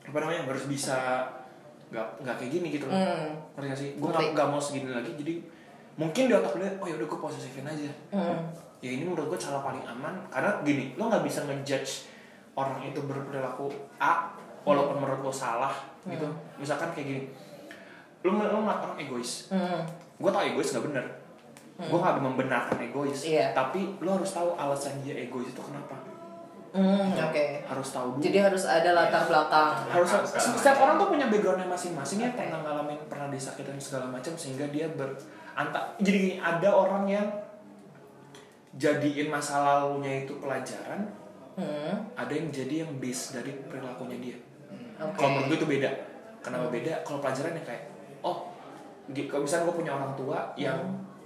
[SPEAKER 5] apa namanya harus bisa nggak nggak kayak gini gitu loh
[SPEAKER 1] Hmm.
[SPEAKER 5] ngerti gak sih gue
[SPEAKER 1] Ngerti.
[SPEAKER 5] nggak mau segini lagi jadi mungkin di otak dia oh yaudah gue posesifin aja
[SPEAKER 1] Hmm.
[SPEAKER 5] ya ini menurut gue cara paling aman karena gini lo nggak bisa ngejudge orang itu berperilaku A walaupun menurut lo salah gitu misalkan kayak gini lo lo ngeliat orang egois
[SPEAKER 1] Hmm.
[SPEAKER 5] gue tau egois nggak bener gue nggak membenarkan egois
[SPEAKER 1] Iya.
[SPEAKER 5] tapi lo harus tahu alasan dia egois itu kenapa
[SPEAKER 1] Hmm, oke.
[SPEAKER 5] harus tahu dulu
[SPEAKER 1] Jadi harus ada latar belakang.
[SPEAKER 5] harus
[SPEAKER 4] Harus tahu.
[SPEAKER 5] setiap orang tuh punya backgroundnya masing-masing ya
[SPEAKER 1] Oke.
[SPEAKER 5] pernah ngalamin pernah disakitin segala macam sehingga dia ber anta- jadi gini, ada orang yang jadiin masa lalunya itu pelajaran
[SPEAKER 1] Hmm,
[SPEAKER 5] ada yang jadi yang base dari perilakunya dia
[SPEAKER 1] oke.
[SPEAKER 5] kalau menurut gue itu beda kenapa beda kalau pelajaran yang kayak oh di- kalau misalnya gue punya orang tua yang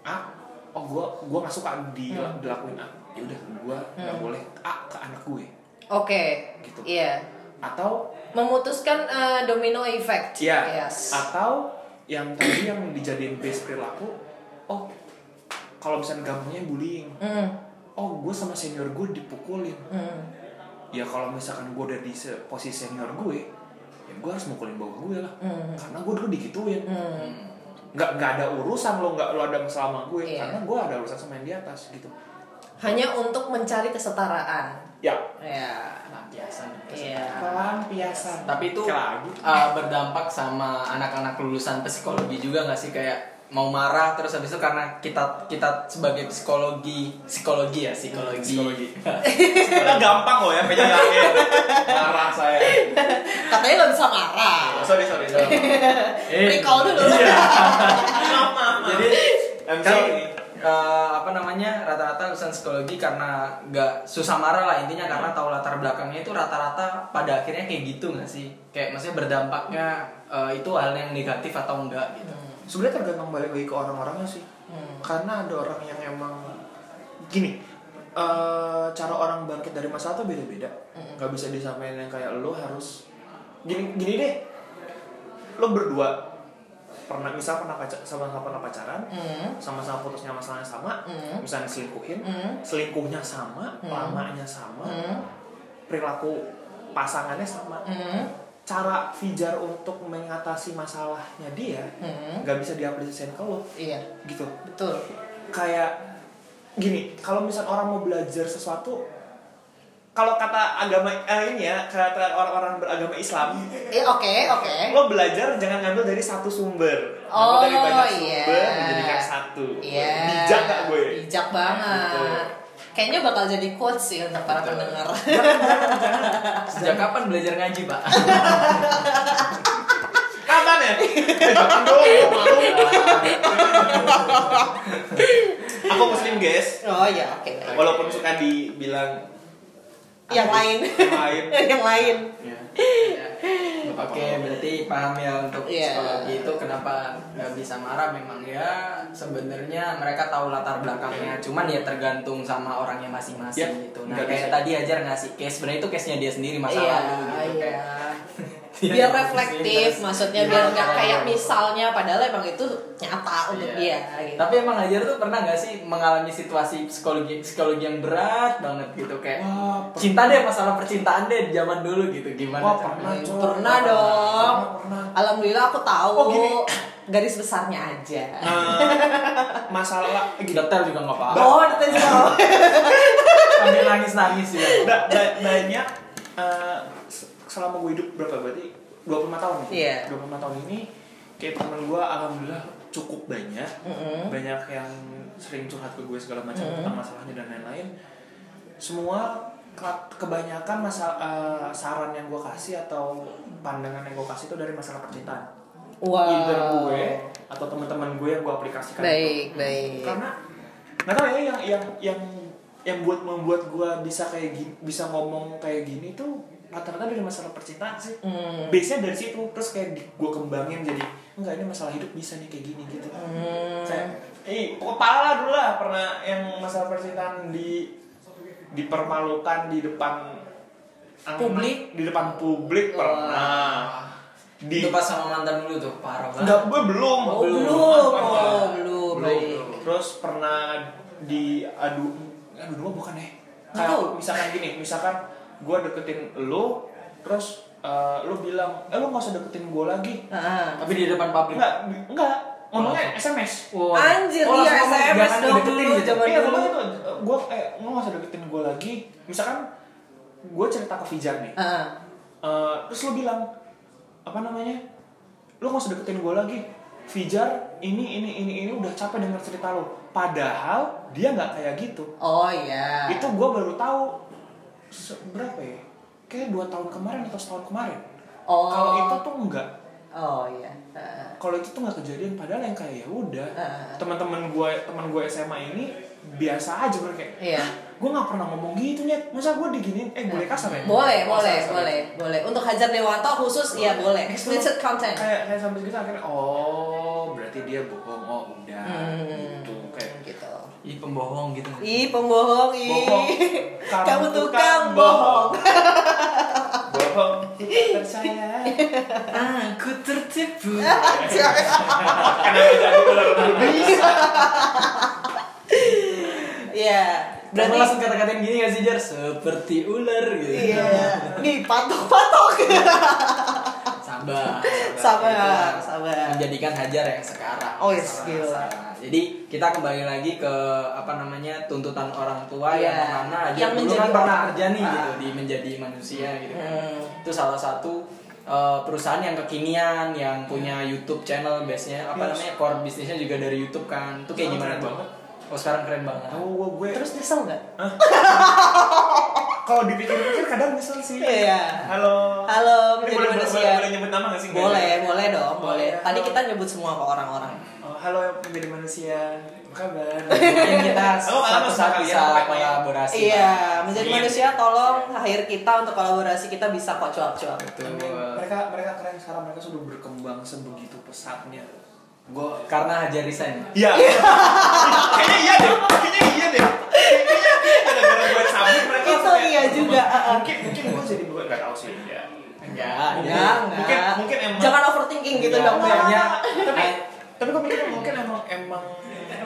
[SPEAKER 5] A oh gue gue nggak suka di dilakuin A ya udah gue nggak boleh A ke anak gue
[SPEAKER 1] Oke.
[SPEAKER 5] Gitu.
[SPEAKER 1] Iya.
[SPEAKER 5] atau
[SPEAKER 1] Memutuskan eh, domino effect.
[SPEAKER 5] Iya.
[SPEAKER 1] Yes.
[SPEAKER 5] Atau yang tadi yang dijadiin base perilaku, oh kalau misalnya gampangnya bullying,
[SPEAKER 1] Hmm,
[SPEAKER 5] oh gue sama senior gue dipukulin.
[SPEAKER 1] hmm.
[SPEAKER 5] Ya kalau misalkan gue udah di se- posisi senior gue, ya gue harus mukulin bawah gue lah,
[SPEAKER 1] Hmm.
[SPEAKER 5] karena gue dulu digituin. Nggak nggak ada urusan lo nggak lo ada masalah sama gue,
[SPEAKER 1] Iya.
[SPEAKER 5] karena gue ada urusan sama yang di atas gitu.
[SPEAKER 1] Hanya untuk mencari kesetaraan.
[SPEAKER 5] Ya
[SPEAKER 1] Ya.
[SPEAKER 4] Pelampiasan.
[SPEAKER 1] Iya.
[SPEAKER 5] pelampiasan.
[SPEAKER 4] Tapi itu
[SPEAKER 5] Kayak lagi.
[SPEAKER 4] uh, berdampak sama anak-anak lulusan psikologi juga nggak sih kayak mau marah terus habis itu karena kita kita sebagai psikologi psikologi ya psikologi,
[SPEAKER 5] Psikologi. gampang loh ya penyelangnya. Marah saya.
[SPEAKER 1] Katanya nggak bisa marah.
[SPEAKER 5] Sorry sorry. sorry. Eh,
[SPEAKER 1] Recall dulu.
[SPEAKER 5] iya.
[SPEAKER 1] Maaf, maaf, maaf.
[SPEAKER 4] jadi
[SPEAKER 5] I'm
[SPEAKER 4] kan
[SPEAKER 5] sorry.
[SPEAKER 4] eh, apa namanya rata-rata lulusan psikologi karena nggak susah marah lah intinya karena tahu latar belakangnya itu rata-rata pada akhirnya kayak gitu nggak sih kayak maksudnya berdampaknya eh, itu hal yang negatif atau enggak gitu
[SPEAKER 5] sebenarnya tergantung balik lagi ke orang-orangnya sih
[SPEAKER 1] Hmm.
[SPEAKER 5] karena ada orang yang emang gini eh, cara orang bangkit dari masalah tuh beda-beda
[SPEAKER 1] Hmm.
[SPEAKER 5] nggak bisa disamain yang kayak lo harus gini gini deh lo berdua pernah misal pernah pacar sama-sama pernah pacaran
[SPEAKER 1] Hmm.
[SPEAKER 5] sama-sama putusnya masalahnya sama
[SPEAKER 1] Hmm.
[SPEAKER 5] misalnya selingkuhin
[SPEAKER 1] Hmm.
[SPEAKER 5] selingkuhnya sama lamanya sama
[SPEAKER 1] Hmm.
[SPEAKER 5] perilaku pasangannya sama
[SPEAKER 1] Hmm.
[SPEAKER 5] cara Fijar untuk mengatasi masalahnya dia
[SPEAKER 1] Hmm.
[SPEAKER 5] nggak bisa diaplikasikan ke lo
[SPEAKER 1] Iya.
[SPEAKER 5] gitu
[SPEAKER 1] Betul.
[SPEAKER 5] kayak gini kalau misal orang mau belajar sesuatu kalau kata agama eh, ini ya kata orang-orang beragama Islam
[SPEAKER 1] Eh, oke, oke.
[SPEAKER 5] lo belajar jangan ngambil dari satu sumber
[SPEAKER 1] Oh,
[SPEAKER 5] ngambil dari banyak
[SPEAKER 1] iya.
[SPEAKER 5] sumber dijadikan satu
[SPEAKER 1] Iya.
[SPEAKER 5] bijak gak gue
[SPEAKER 1] Bijak banget.
[SPEAKER 5] Betul.
[SPEAKER 1] Kayaknya bakal jadi quotes sih untuk para
[SPEAKER 4] Betul.
[SPEAKER 1] pendengar.
[SPEAKER 4] sejak kapan belajar ngaji pak
[SPEAKER 5] kapan ya Eh, jangan dong malu. aku muslim guys
[SPEAKER 1] Oh ya, oke. baik.
[SPEAKER 5] walaupun suka dibilang
[SPEAKER 1] Yang
[SPEAKER 5] ateis,
[SPEAKER 1] lain.
[SPEAKER 5] yang lain
[SPEAKER 1] Yang lain.
[SPEAKER 4] Oke, berarti paham ya untuk
[SPEAKER 1] Iya.
[SPEAKER 4] psikologi itu kenapa nggak bisa marah memang ya sebenarnya mereka tahu latar belakangnya, cuman ya tergantung sama orangnya masing-masing
[SPEAKER 5] Iya,
[SPEAKER 4] gitu. Nah,
[SPEAKER 5] nggak
[SPEAKER 4] kayak
[SPEAKER 5] bisa.
[SPEAKER 4] tadi ajar ngasih case sebenarnya itu case-nya dia sendiri masa
[SPEAKER 1] Iya,
[SPEAKER 4] lalu gitu
[SPEAKER 1] iya.
[SPEAKER 4] kayak. dia
[SPEAKER 1] Biar
[SPEAKER 4] yang
[SPEAKER 1] reflektif,
[SPEAKER 4] pusing,
[SPEAKER 1] maksudnya
[SPEAKER 4] iya,
[SPEAKER 1] biar nggak
[SPEAKER 4] iya.
[SPEAKER 1] kayak misalnya, padahal emang itu nyata untuk
[SPEAKER 4] Iya.
[SPEAKER 1] dia. Gitu.
[SPEAKER 4] Tapi emang Hajar tuh pernah nggak sih mengalami situasi psikologi psikologi yang berat banget gitu kayak
[SPEAKER 5] Wah, pernah.
[SPEAKER 4] cinta deh masalah percintaan deh zaman dulu gitu gimana?
[SPEAKER 5] Wah,
[SPEAKER 4] caranya?
[SPEAKER 5] pernah, Cok.
[SPEAKER 1] pernah dong.
[SPEAKER 5] Pernah.
[SPEAKER 1] Alhamdulillah aku tahu
[SPEAKER 5] Oh, gini. Nah,
[SPEAKER 1] garis besarnya aja.
[SPEAKER 5] Eh, masalah eh, gini,
[SPEAKER 4] Detail juga nggak apa-apa.
[SPEAKER 1] Oh, detail juga.
[SPEAKER 4] Sambil nangis-nangis ya.
[SPEAKER 5] ba- ba- banyak eh, se- selama gue hidup berapa berarti 25 tahun ya?
[SPEAKER 1] Iya.
[SPEAKER 5] 25 tahun ini kayak teman gue alhamdulillah cukup banyak. Banyak yang sering curhat ke gue segala macam tentang masalahnya dan lain-lain. Semua ke- kebanyakan masalah saran yang gue kasih atau pandangan yang gue kasih itu dari masalah percintaan.
[SPEAKER 1] Wow.
[SPEAKER 5] Either gue atau teman-teman gue yang gue aplikasikan. itu
[SPEAKER 1] Baik, baik.
[SPEAKER 5] karena nggak tahu ya yang yang yang yang buat membuat gue bisa kayak gini bisa ngomong kayak gini tuh rata-rata dari masalah percintaan sih
[SPEAKER 1] Hmm.
[SPEAKER 5] base nya dari situ terus kayak gue kembangin jadi enggak ini masalah hidup bisa nih kayak gini gitu
[SPEAKER 1] Hmm.
[SPEAKER 5] kayak eh kepala lah dulu lah pernah yang masalah percintaan di dipermalukan di depan ang-
[SPEAKER 1] Publik?
[SPEAKER 5] di depan publik
[SPEAKER 1] Wah.
[SPEAKER 5] pernah di
[SPEAKER 4] Itu pas sama mantan dulu tuh parah banget.
[SPEAKER 5] enggak gue belum
[SPEAKER 1] Oh, belum.
[SPEAKER 5] Pernah.
[SPEAKER 1] Oh, belum. Baik.
[SPEAKER 5] Terus pernah diadu adu dua bukan ya?
[SPEAKER 1] Tahu.
[SPEAKER 5] Kayak misalkan gini, misalkan gua deketin lu, terus eh, lu bilang, "Eh lu gak usah deketin gua lagi."
[SPEAKER 1] Heeh.
[SPEAKER 4] Tapi di depan publik.
[SPEAKER 5] Enggak, enggak. Ngomongnya SMS.
[SPEAKER 4] Wow.
[SPEAKER 1] Anjir,
[SPEAKER 4] Oh,
[SPEAKER 1] iya,
[SPEAKER 4] langsung ngomong,
[SPEAKER 1] SMS
[SPEAKER 4] jangan
[SPEAKER 1] dong
[SPEAKER 4] dideketin
[SPEAKER 1] dulu,
[SPEAKER 4] gitu.
[SPEAKER 1] zaman
[SPEAKER 5] Iya,
[SPEAKER 1] dulu.
[SPEAKER 5] gua itu gua eh lu gak usah deketin gua lagi. Misalkan gua cerita ke Fijar nih.
[SPEAKER 1] Heeh.
[SPEAKER 5] Eh, terus lu bilang apa namanya? Lu gak usah deketin gua lagi. Fijar ini ini ini ini udah capek dengar cerita lu. Padahal dia nggak kayak gitu.
[SPEAKER 1] Oh iya.
[SPEAKER 5] itu gue baru tahu se- berapa ya? Kayak dua tahun kemarin atau setahun kemarin.
[SPEAKER 1] Oh.
[SPEAKER 5] Kalau itu tuh enggak.
[SPEAKER 1] Oh iya. Heeh.
[SPEAKER 5] Kalau itu tuh nggak kejadian. Padahal yang kayak ya udah.
[SPEAKER 1] Ah.
[SPEAKER 5] Teman-teman gue, teman gue SMA ini biasa aja mereka. kayak,
[SPEAKER 1] Iya.
[SPEAKER 5] "Hah, Gue nggak pernah ngomong gitu nih. Masa gue diginiin? Eh boleh kasar ya?
[SPEAKER 1] Boleh,
[SPEAKER 5] Oh,
[SPEAKER 1] boleh,
[SPEAKER 5] sorry, sorry.
[SPEAKER 1] boleh, boleh. Untuk Hajar Dewanto khusus iya boleh.
[SPEAKER 5] Itu
[SPEAKER 1] Explicit content.
[SPEAKER 5] Kayak kayak sampai segitu akhirnya oh berarti dia bohong oh udah gitu kayak
[SPEAKER 1] Gitu.
[SPEAKER 4] Ih pembohong gitu.
[SPEAKER 1] Ih, pembohong, ih.
[SPEAKER 5] Bohong. Kamu
[SPEAKER 1] Kamu
[SPEAKER 5] tukang
[SPEAKER 1] tukang bohong.
[SPEAKER 5] bohong percaya
[SPEAKER 4] Aku tertipu.
[SPEAKER 5] kenapa jadi ular berbisa
[SPEAKER 1] Iya.
[SPEAKER 4] Berarti
[SPEAKER 1] Berarti
[SPEAKER 4] langsung kata-kata yang gini gak sih Jar? Seperti ular gitu.
[SPEAKER 1] Iya. Nih, patok-patok.
[SPEAKER 4] Sabar.
[SPEAKER 1] Sabar,
[SPEAKER 4] Itulah
[SPEAKER 1] sabar.
[SPEAKER 4] Menjadikan hajar yang sekarang.
[SPEAKER 1] Oh, yes,
[SPEAKER 4] Sabar,
[SPEAKER 1] gila.
[SPEAKER 4] sabar. Jadi kita kembali lagi ke apa namanya tuntutan orang tua
[SPEAKER 1] Iya.
[SPEAKER 4] yang mana Hajar
[SPEAKER 1] Yang
[SPEAKER 4] dulu
[SPEAKER 1] menjadi
[SPEAKER 4] kan pernah
[SPEAKER 1] orang-
[SPEAKER 4] kerja nih
[SPEAKER 1] Ah.
[SPEAKER 4] gitu di menjadi manusia gitu. kan.
[SPEAKER 1] Hmm.
[SPEAKER 4] Itu salah satu eh, perusahaan yang kekinian yang punya
[SPEAKER 1] Iya.
[SPEAKER 4] YouTube channel base-nya apa
[SPEAKER 5] Yes.
[SPEAKER 4] namanya core bisnisnya juga dari YouTube kan. Itu kayak
[SPEAKER 5] Sekarang
[SPEAKER 4] gimana
[SPEAKER 5] keren
[SPEAKER 4] tuh?
[SPEAKER 5] banget.
[SPEAKER 4] Oh sekarang keren banget.
[SPEAKER 5] tahu gue gue
[SPEAKER 1] Terus nyesel nggak?
[SPEAKER 5] kalau dipikir-pikir kadang nyesel sih
[SPEAKER 1] Iya.
[SPEAKER 5] halo
[SPEAKER 1] Halo,
[SPEAKER 5] Ini
[SPEAKER 1] menjadi
[SPEAKER 5] boleh,
[SPEAKER 1] manusia.
[SPEAKER 5] boleh, boleh nyebut nama gak sih?
[SPEAKER 1] Boleh, boleh dong,
[SPEAKER 5] Oh,
[SPEAKER 1] boleh.
[SPEAKER 5] iya.
[SPEAKER 1] Tadi kita nyebut semua ke orang-orang.
[SPEAKER 5] Oh, halo yang menjadi manusia apa kabar
[SPEAKER 4] Mungkin kita
[SPEAKER 1] Oh,
[SPEAKER 5] Aku malah
[SPEAKER 4] satu
[SPEAKER 5] masuk
[SPEAKER 4] saat
[SPEAKER 5] kalian,
[SPEAKER 4] bisa
[SPEAKER 5] pokoknya.
[SPEAKER 4] kolaborasi.
[SPEAKER 1] ya, Iya, menjadi
[SPEAKER 5] Iya.
[SPEAKER 1] manusia tolong akhir kita untuk kolaborasi kita bisa kok cuap-cuap.
[SPEAKER 4] Iya. Betul.
[SPEAKER 5] mereka mereka keren sekarang mereka sudah berkembang sebegitu pesatnya gue
[SPEAKER 4] Karena Hajar resign.
[SPEAKER 5] Iya. Kayaknya iya deh. Kayaknya iya deh. Kayaknya iya. gara-gara gue sabit mereka
[SPEAKER 1] Itu
[SPEAKER 5] langsung kayak-
[SPEAKER 1] iya juga, heeh.
[SPEAKER 5] Mungkin mungkin gue jadi gue nggak tahu sih ya.
[SPEAKER 4] Enggak,
[SPEAKER 5] Mungkin-
[SPEAKER 1] Ya,
[SPEAKER 5] mungkin- mungkin emang-
[SPEAKER 1] Jangan overthinking gitu
[SPEAKER 4] Iya,
[SPEAKER 1] dong,
[SPEAKER 4] makanya-
[SPEAKER 1] Bang.
[SPEAKER 5] Tapi tapi gue mikir mungkin emang emang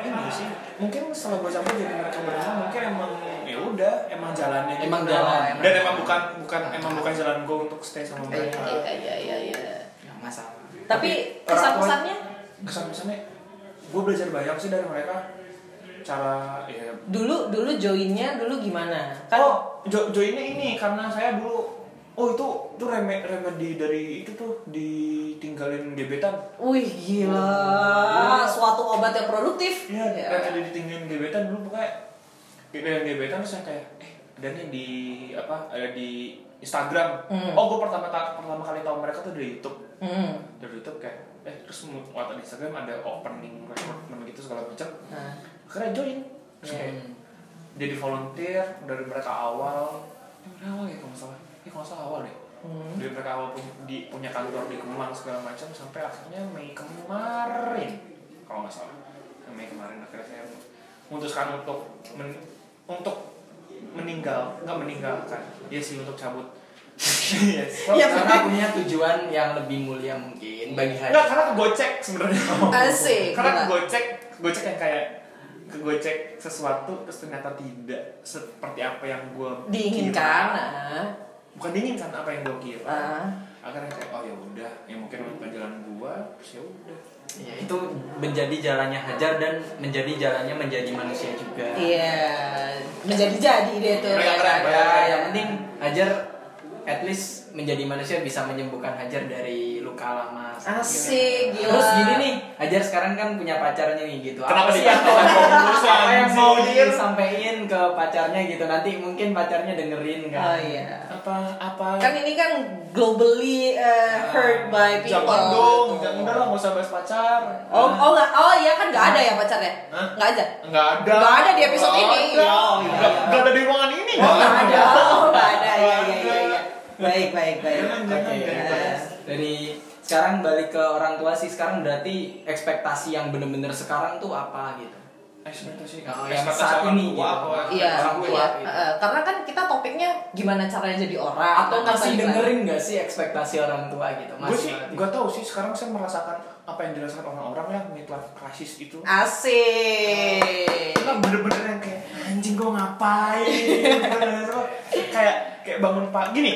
[SPEAKER 5] ini sih. Mungkin setelah gue campur jadi mereka berdua mungkin emang ya udah emang jalannya. gitu.
[SPEAKER 4] Emang jalan, emang
[SPEAKER 5] Dan emang bukan bukan emang bukan jalan gue untuk stay sama
[SPEAKER 1] Iya,
[SPEAKER 5] mereka.
[SPEAKER 1] iya, iya, iya.
[SPEAKER 4] Enggak masalah.
[SPEAKER 1] Tapi
[SPEAKER 5] Tapi orang tua-
[SPEAKER 1] kesan-kesannya
[SPEAKER 5] Kesan-kesannya gue belajar banyak sih dari mereka cara ya
[SPEAKER 1] dulu dulu joinnya dulu gimana? Kan
[SPEAKER 5] oh, jo joinnya ini karena saya dulu oh itu itu reme remedi dari itu tuh ditinggalin gebetan.
[SPEAKER 1] Wih gila, suatu obat yang produktif.
[SPEAKER 5] Iya,
[SPEAKER 1] Ya.
[SPEAKER 5] remedi ditinggalin gebetan dulu pokoknya ditinggalin gebetan terus saya kayak eh ada nih di apa ada di Instagram.
[SPEAKER 1] Hmm.
[SPEAKER 5] Oh, gue pertama ta- pertama kali tahu mereka tuh dari YouTube.
[SPEAKER 1] Hmm.
[SPEAKER 5] Dari YouTube kayak eh terus mu- waktu di Instagram ada opening recruitment gitu segala macam.
[SPEAKER 1] Nah,
[SPEAKER 5] Akhirnya join. Terus kayak jadi volunteer dari mereka awal eh, dari awal ya kalau nggak salah ya kalau nggak salah awal deh
[SPEAKER 1] Hmm.
[SPEAKER 5] dari mereka awal pun di, punya kantor di Kemang segala macam sampai akhirnya Mei kemarin kalau nggak salah Mei kemarin akhirnya saya memutuskan untuk men- untuk meninggal nggak meninggalkan ya sih untuk cabut Iya yes.
[SPEAKER 1] Ya,
[SPEAKER 4] Karena punya tujuan yang lebih mulia mungkin bagi
[SPEAKER 5] Enggak,
[SPEAKER 4] Hajar.
[SPEAKER 5] karena kegocek sebenarnya.
[SPEAKER 1] Asik,
[SPEAKER 5] karena
[SPEAKER 1] gila.
[SPEAKER 5] kegocek, kegocek yang kayak kegocek sesuatu terus ternyata tidak seperti apa yang gue
[SPEAKER 1] diinginkan. Nah,
[SPEAKER 5] Bukan diinginkan apa yang gue kira.
[SPEAKER 1] Ah.
[SPEAKER 5] Akhirnya kayak oh ya udah, ya mungkin bukan jalan gue, terus ya udah.
[SPEAKER 4] Ya, itu menjadi jalannya Hajar dan menjadi jalannya menjadi manusia juga.
[SPEAKER 1] Iya, menjadi jadi deh tuh.
[SPEAKER 5] Mereka
[SPEAKER 1] ya,
[SPEAKER 5] keren,
[SPEAKER 1] ya,
[SPEAKER 4] Ya,
[SPEAKER 1] ya.
[SPEAKER 4] yang penting Hajar at least menjadi manusia bisa menyembuhkan Hajar dari luka lama.
[SPEAKER 1] Asik, gila.
[SPEAKER 4] Terus gini nih, Hajar sekarang kan punya pacarnya nih gitu.
[SPEAKER 5] Kenapa
[SPEAKER 4] apa sih yang
[SPEAKER 5] dipantau sama bonus,
[SPEAKER 4] apa yang mau
[SPEAKER 5] anjir?
[SPEAKER 4] disampaikan ke pacarnya gitu? Nanti mungkin pacarnya dengerin kan.
[SPEAKER 1] Oh iya.
[SPEAKER 5] Apa apa?
[SPEAKER 1] Kan ini kan globally uh, heard by people.
[SPEAKER 5] Ah. jangan dong,
[SPEAKER 1] gitu.
[SPEAKER 5] jangan udah lah nggak usah bahas pacar.
[SPEAKER 1] Oh, oh nggak, oh iya kan nggak ada ya pacarnya?
[SPEAKER 5] Hah?
[SPEAKER 1] Nggak ada.
[SPEAKER 5] Nggak ada.
[SPEAKER 1] Nggak ada di episode ini. Oh, iya,
[SPEAKER 5] Nggak-
[SPEAKER 1] iya.
[SPEAKER 5] nggak ada di ruangan ini.
[SPEAKER 1] Oh nggak ada, oh nggak ada, iya
[SPEAKER 5] Nggak
[SPEAKER 1] iya iya.
[SPEAKER 5] ada.
[SPEAKER 1] iya. Baik baik baik.
[SPEAKER 5] Jangan,
[SPEAKER 4] Oke,
[SPEAKER 5] jangan, jangan
[SPEAKER 1] ya.
[SPEAKER 5] bahas.
[SPEAKER 4] dari sekarang balik ke orang tua sih sekarang berarti ekspektasi yang bener-bener sekarang tuh apa gitu?
[SPEAKER 5] Eh, Ekspektasi,
[SPEAKER 4] Oh, yang
[SPEAKER 5] ekspektasi
[SPEAKER 4] saat
[SPEAKER 5] orang
[SPEAKER 4] ini gitu.
[SPEAKER 5] tua apa?
[SPEAKER 1] Iya,
[SPEAKER 4] Orang
[SPEAKER 5] ya,
[SPEAKER 4] tua,
[SPEAKER 1] iya.
[SPEAKER 4] gitu.
[SPEAKER 1] Eh, karena kan kita topiknya gimana caranya jadi orang
[SPEAKER 4] Atau
[SPEAKER 1] apa gitu?
[SPEAKER 4] masih
[SPEAKER 1] gimana.
[SPEAKER 4] dengerin gak sih ekspektasi orang tua gitu?
[SPEAKER 5] gue sih
[SPEAKER 4] Masih
[SPEAKER 5] nggak tahu sih sekarang saya merasakan apa yang dirasakan orang-orang yang midlife crisis itu
[SPEAKER 1] Asik.
[SPEAKER 5] kita kan bener-bener yang kayak anjing gue ngapain Bener-bener, kayak kayak bangun pagi gini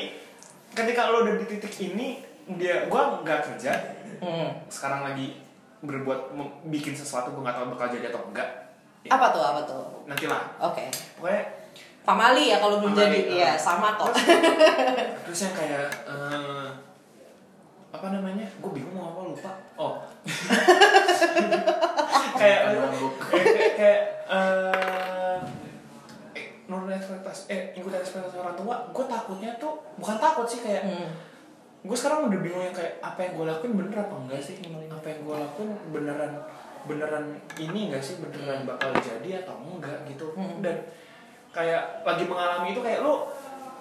[SPEAKER 5] ketika lo udah di titik ini dia gue nggak kerja
[SPEAKER 1] Hmm.
[SPEAKER 5] sekarang lagi berbuat mem- bikin sesuatu gue nggak tahu bakal jadi atau enggak ya,
[SPEAKER 1] Apa tuh apa tuh?
[SPEAKER 5] nantilah
[SPEAKER 1] Oke.
[SPEAKER 5] pokoknya
[SPEAKER 1] Famali ya kalau belum
[SPEAKER 5] Famali,
[SPEAKER 1] jadi,
[SPEAKER 5] eh.
[SPEAKER 1] iya sama kok.
[SPEAKER 5] terus yang kayak eh, apa namanya gue bingung mau apa lupa oh kayak
[SPEAKER 4] Makan mabuk.
[SPEAKER 5] kayak kayak eh, eh, nurunin ekspektasi eh ikut ekspektasi orang tua takutnya tuh bukan takut sih kayak
[SPEAKER 1] Hmm.
[SPEAKER 5] gue sekarang udah bingung yang kayak apa yang gue lakuin bener apa enggak sih apa yang gue lakuin beneran beneran ini enggak sih beneran bakal jadi atau enggak gitu
[SPEAKER 1] Hmm.
[SPEAKER 5] dan kayak lagi mengalami itu kayak lo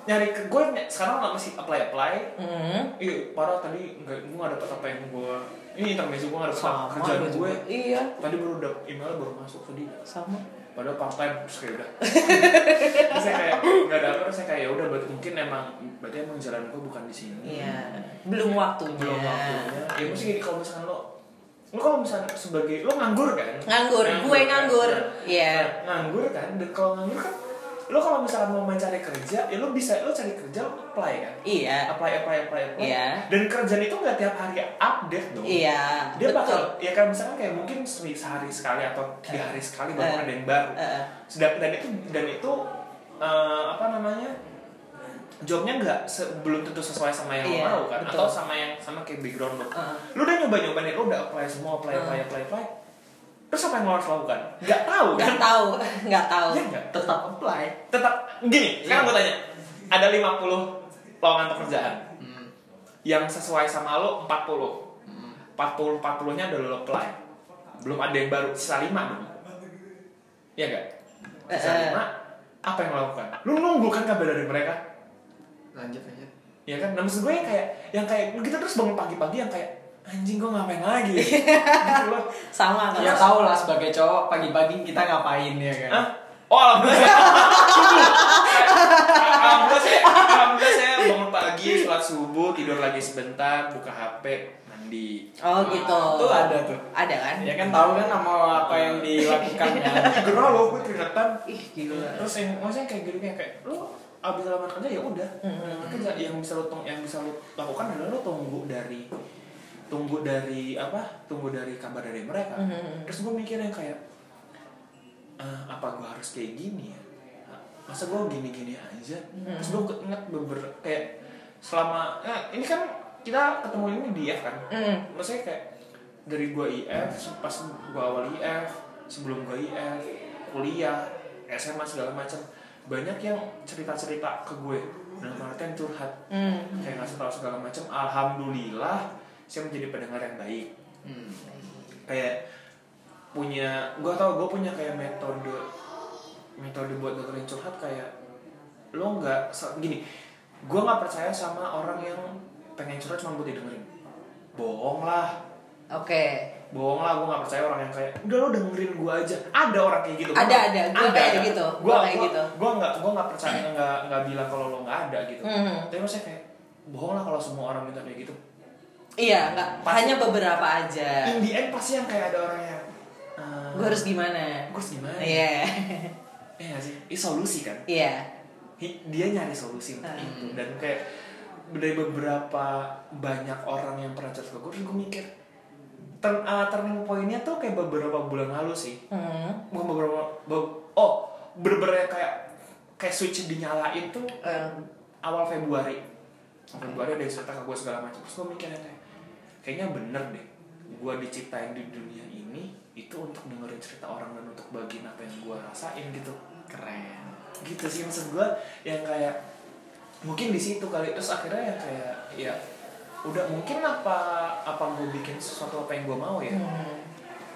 [SPEAKER 5] nyari ke gue sekarang masih apply apply
[SPEAKER 1] Hmm.
[SPEAKER 5] Iya, parah tadi nggak gue nggak dapet apa yang gue ini intermezzo gue nggak dapet
[SPEAKER 1] Sama
[SPEAKER 5] kerjaan
[SPEAKER 1] gua
[SPEAKER 5] gue.
[SPEAKER 1] juga. Iya.
[SPEAKER 5] Tadi baru dapet email baru masuk ke dia.
[SPEAKER 1] Sama.
[SPEAKER 5] Padahal part time terus kayak udah. terus saya kayak nggak dapet, terus saya kayak ya udah berarti mungkin emang berarti emang jalan gue bukan di sini.
[SPEAKER 1] Iya. Belum waktunya.
[SPEAKER 5] Belum waktunya. Ya mesti gini kalau misalkan lo lo kalau misalnya sebagai lo nganggur kan?
[SPEAKER 1] Nganggur, gue
[SPEAKER 5] kan?
[SPEAKER 1] nganggur.
[SPEAKER 5] Nah,
[SPEAKER 1] Iya.
[SPEAKER 5] nah, nganggur kan dan kalau nganggur kan lo kalau misalkan mau mencari kerja ya lo bisa lo cari kerja lo apply kan?
[SPEAKER 1] Iya.
[SPEAKER 5] apply apply apply apply
[SPEAKER 1] Iya.
[SPEAKER 5] dan kerjaan itu nggak tiap hari update dong
[SPEAKER 1] Iya.
[SPEAKER 5] dia
[SPEAKER 1] betul.
[SPEAKER 5] bakal ya kan misalnya kayak mungkin se- sehari sekali atau tiga hari sekali
[SPEAKER 1] Eh.
[SPEAKER 5] baru ada yang baru
[SPEAKER 1] Eh, eh.
[SPEAKER 5] Sedang- dan itu dan itu eh, apa namanya jobnya nggak se- belum tentu sesuai sama yang
[SPEAKER 1] Iya,
[SPEAKER 5] lo mau kan
[SPEAKER 1] betul. Ah.
[SPEAKER 5] atau sama yang sama kayak background lo
[SPEAKER 1] Heeh.
[SPEAKER 5] lu udah nyoba nyoba nih lu udah apply semua apply apply
[SPEAKER 1] Ah.
[SPEAKER 5] apply apply terus apa yang lo harus lakukan nggak tahu kan
[SPEAKER 1] Nggak tahu, nggak tahu.
[SPEAKER 5] Iya nggak?
[SPEAKER 4] tetap apply
[SPEAKER 5] tetap gini sekarang gue tanya ada 50 lowongan pekerjaan
[SPEAKER 4] Hmm.
[SPEAKER 5] yang sesuai sama lo 40 40 40 nya udah lo apply belum ada yang baru sisa 5 dong iya gak? sisa
[SPEAKER 1] Eh, eh.
[SPEAKER 5] 5 apa yang lo lakukan? lo nunggu kan kabar dari mereka
[SPEAKER 4] lanjut lanjut
[SPEAKER 5] ya kan? nah maksud gue yang kayak yang kayak kita terus bangun pagi-pagi yang kayak anjing gue ngapain lagi ya?" gitu loh
[SPEAKER 1] Sama kan.
[SPEAKER 4] ya tau lah sebagai cowok pagi-pagi kita ngapain ya kan
[SPEAKER 5] Hah? Oh alhamdulillah. Subuh. Saya- alhamdulillah saya, alhamdulillah saya bangun pagi, sholat subuh, tidur lagi sebentar, buka HP, mandi.
[SPEAKER 1] Oh gitu.
[SPEAKER 4] Tuh Nah, ada tuh.
[SPEAKER 1] Ada kan?
[SPEAKER 4] ya kan tahu kan sama apa yang dilakukan kan?
[SPEAKER 5] Gerah loh gue keringetan.
[SPEAKER 1] Ih gila.
[SPEAKER 4] Gitu.
[SPEAKER 5] Iya. Terus yang maksudnya kayak gini kayak, kayak lu abis lamaran kerja ya udah. Lamaran kerja yang bisa lu tong- yang bisa lu lakukan adalah lu tunggu dari tunggu dari apa? Tunggu dari kabar dari mereka.
[SPEAKER 1] Mhm.
[SPEAKER 5] Terus gue mikirnya kayak "Ah, apa gue harus kayak gini ya? Masa gue gini-gini aja? Terus gue inget beberapa kayak selama eh, ini kan kita ketemu ini di IF kan?
[SPEAKER 1] Mm.
[SPEAKER 5] maksudnya kayak dari gua IF pas gua awal IF sebelum gua IF kuliah SMA segala macam banyak yang cerita-cerita ke gue dalam artian curhat
[SPEAKER 1] Hmm.
[SPEAKER 5] kayak ngasih tahu segala macam alhamdulillah saya menjadi pendengar yang baik
[SPEAKER 4] Hmm.
[SPEAKER 5] kayak punya gue tau gue punya kayak metode metode buat dengerin curhat kayak lo nggak se- gini gue nggak percaya sama orang yang pengen curhat cuma buat didengerin bohong lah
[SPEAKER 1] Oke.
[SPEAKER 5] bohong lah gue gak percaya orang yang kayak udah lo dengerin gue aja ada orang kayak gitu
[SPEAKER 1] Ada, ada. Gua kayak gitu.
[SPEAKER 5] gue
[SPEAKER 1] Gua kayak
[SPEAKER 5] kayak
[SPEAKER 1] gitu.
[SPEAKER 5] gitu gue nggak gue nggak percaya nggak nggak bilang kalau lo nggak ada gitu
[SPEAKER 1] Hmm.
[SPEAKER 5] tapi maksudnya kayak bohong lah kalau semua orang minta kayak gitu
[SPEAKER 1] Iya, nggak.
[SPEAKER 5] Pasti-
[SPEAKER 1] Hanya beberapa aja.
[SPEAKER 4] Iya.
[SPEAKER 5] in the end pasti yang kayak ada orang yang "Ah,
[SPEAKER 1] Gue Iya. harus gimana?
[SPEAKER 5] gue harus gimana
[SPEAKER 1] Iya.
[SPEAKER 5] Eh, nggak sih ini solusi kan
[SPEAKER 1] Iya.
[SPEAKER 5] Hi- dia nyari solusi untuk
[SPEAKER 1] Hmm.
[SPEAKER 5] itu dan kayak dari beberapa banyak orang yang pernah cerita ke gue terus gue mikir turn, ah, turning pointnya tuh kayak beberapa bulan lalu sih
[SPEAKER 1] Hmm.
[SPEAKER 5] bukan beberapa be- oh bener-bener yang kayak kayak switch dinyalain tuh
[SPEAKER 1] Eh.
[SPEAKER 5] awal Februari Februari ada yang cerita ke gue segala macam terus gue mikirnya kayak kayaknya bener deh gue diciptain di dunia ini itu untuk dengerin cerita orang dan untuk bagiin apa yang gue rasain gitu
[SPEAKER 4] keren
[SPEAKER 5] gitu sih maksud gue yang kayak mungkin di situ kali terus akhirnya yang kayak ya udah mungkin apa apa gue bikin sesuatu apa yang gue mau ya
[SPEAKER 1] Hmm.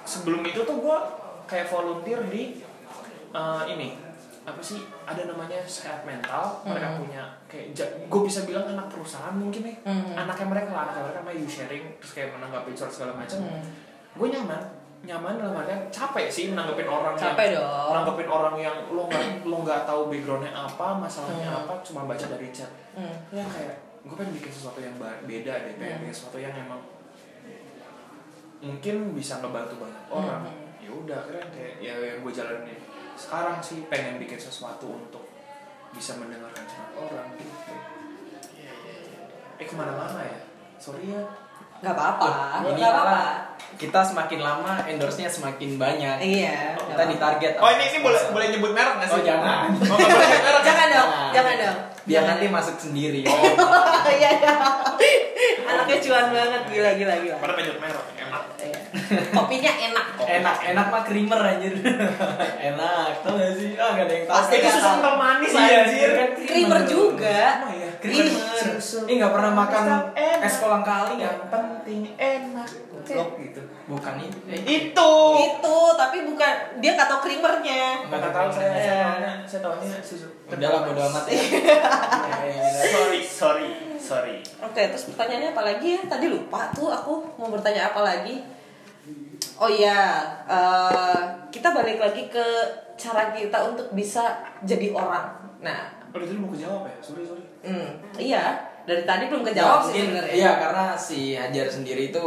[SPEAKER 5] sebelum itu tuh gue kayak volunteer di eh, ini apa sih ada namanya sehat mental mereka
[SPEAKER 1] Hmm.
[SPEAKER 5] punya kayak gue bisa bilang anak perusahaan mungkin nih
[SPEAKER 1] Hmm.
[SPEAKER 5] anaknya mereka lah anaknya mereka namanya you sharing terus kayak menanggapi curhat segala macam
[SPEAKER 1] Hmm.
[SPEAKER 5] gue nyaman nyaman dalam artian capek sih menanggapin orang
[SPEAKER 1] Capek
[SPEAKER 5] yang,
[SPEAKER 1] dong.
[SPEAKER 5] menanggapin orang yang lo nggak lo nggak tahu backgroundnya apa masalahnya
[SPEAKER 1] Hmm.
[SPEAKER 5] apa cuma baca dari chat
[SPEAKER 1] Hmm.
[SPEAKER 5] ya kayak gue pengen bikin sesuatu yang ba- beda deh pengen
[SPEAKER 1] Hmm.
[SPEAKER 5] bikin sesuatu yang emang mungkin bisa ngebantu banyak orang
[SPEAKER 1] Hmm.
[SPEAKER 5] ya udah akhirnya kayak ya yang gue jalanin sekarang sih pengen bikin sesuatu untuk bisa mendengarkan cerita orang gitu Iya, eh kemana-mana ya sorry ya
[SPEAKER 1] Nggak apa-apa.
[SPEAKER 4] Ini
[SPEAKER 1] Nggak apa-apa.
[SPEAKER 4] malah kita semakin lama endorse-nya semakin banyak
[SPEAKER 1] Iya. nggak
[SPEAKER 4] kita
[SPEAKER 1] apa-apa.
[SPEAKER 4] ditarget
[SPEAKER 5] oh ini sih boleh boleh nyebut merek nggak sih
[SPEAKER 4] Oh, jangan.
[SPEAKER 5] Oh, nggak boleh nyebut merek.
[SPEAKER 1] Jangan dong.
[SPEAKER 4] Nah.
[SPEAKER 1] Jangan dong.
[SPEAKER 4] biar
[SPEAKER 1] Jangan.
[SPEAKER 4] nanti masuk sendiri
[SPEAKER 1] Iya, iya. Anaknya cuan banget. Gila, gila, gila.
[SPEAKER 5] Padahal pengen nyebut merek enak
[SPEAKER 1] Iya. Kopinya enak.
[SPEAKER 4] enak enak mah krimer anjir enak tau gak sih ah gak ada yang tahu
[SPEAKER 1] Pasti
[SPEAKER 4] Kayak
[SPEAKER 1] susu
[SPEAKER 4] tahu.
[SPEAKER 5] kental manis,
[SPEAKER 4] Iya,
[SPEAKER 5] anjir.
[SPEAKER 4] kan
[SPEAKER 1] Creamer juga.
[SPEAKER 5] Oh, iya.
[SPEAKER 4] Ih, Ih, nggak pernah makan
[SPEAKER 5] Enak.
[SPEAKER 4] es kolang kali
[SPEAKER 5] yang
[SPEAKER 1] Iya.
[SPEAKER 4] nggak?
[SPEAKER 5] penting enak goblok gitu
[SPEAKER 4] Bukan itu. Eh,
[SPEAKER 5] itu
[SPEAKER 1] Itu, tapi bukan dia nggak tahu krimernya.
[SPEAKER 5] nggak tahu saya
[SPEAKER 1] Iya.
[SPEAKER 5] saya taunya saya taunya susu
[SPEAKER 4] Udah lah bodo amat ya.
[SPEAKER 1] Iya.
[SPEAKER 5] sorry sorry sorry
[SPEAKER 1] Oke, terus pertanyaannya apa lagi ya? Tadi lupa tuh aku mau bertanya apa lagi. Oh iya, eh, kita balik lagi ke cara kita untuk bisa jadi orang. Nah,
[SPEAKER 5] oh itu mau kejawab ya sorry sorry
[SPEAKER 1] hmm, iya dari tadi belum kejawab sih
[SPEAKER 4] Mungkin,
[SPEAKER 1] sebenarnya.
[SPEAKER 4] Iya, karena si Hajar sendiri itu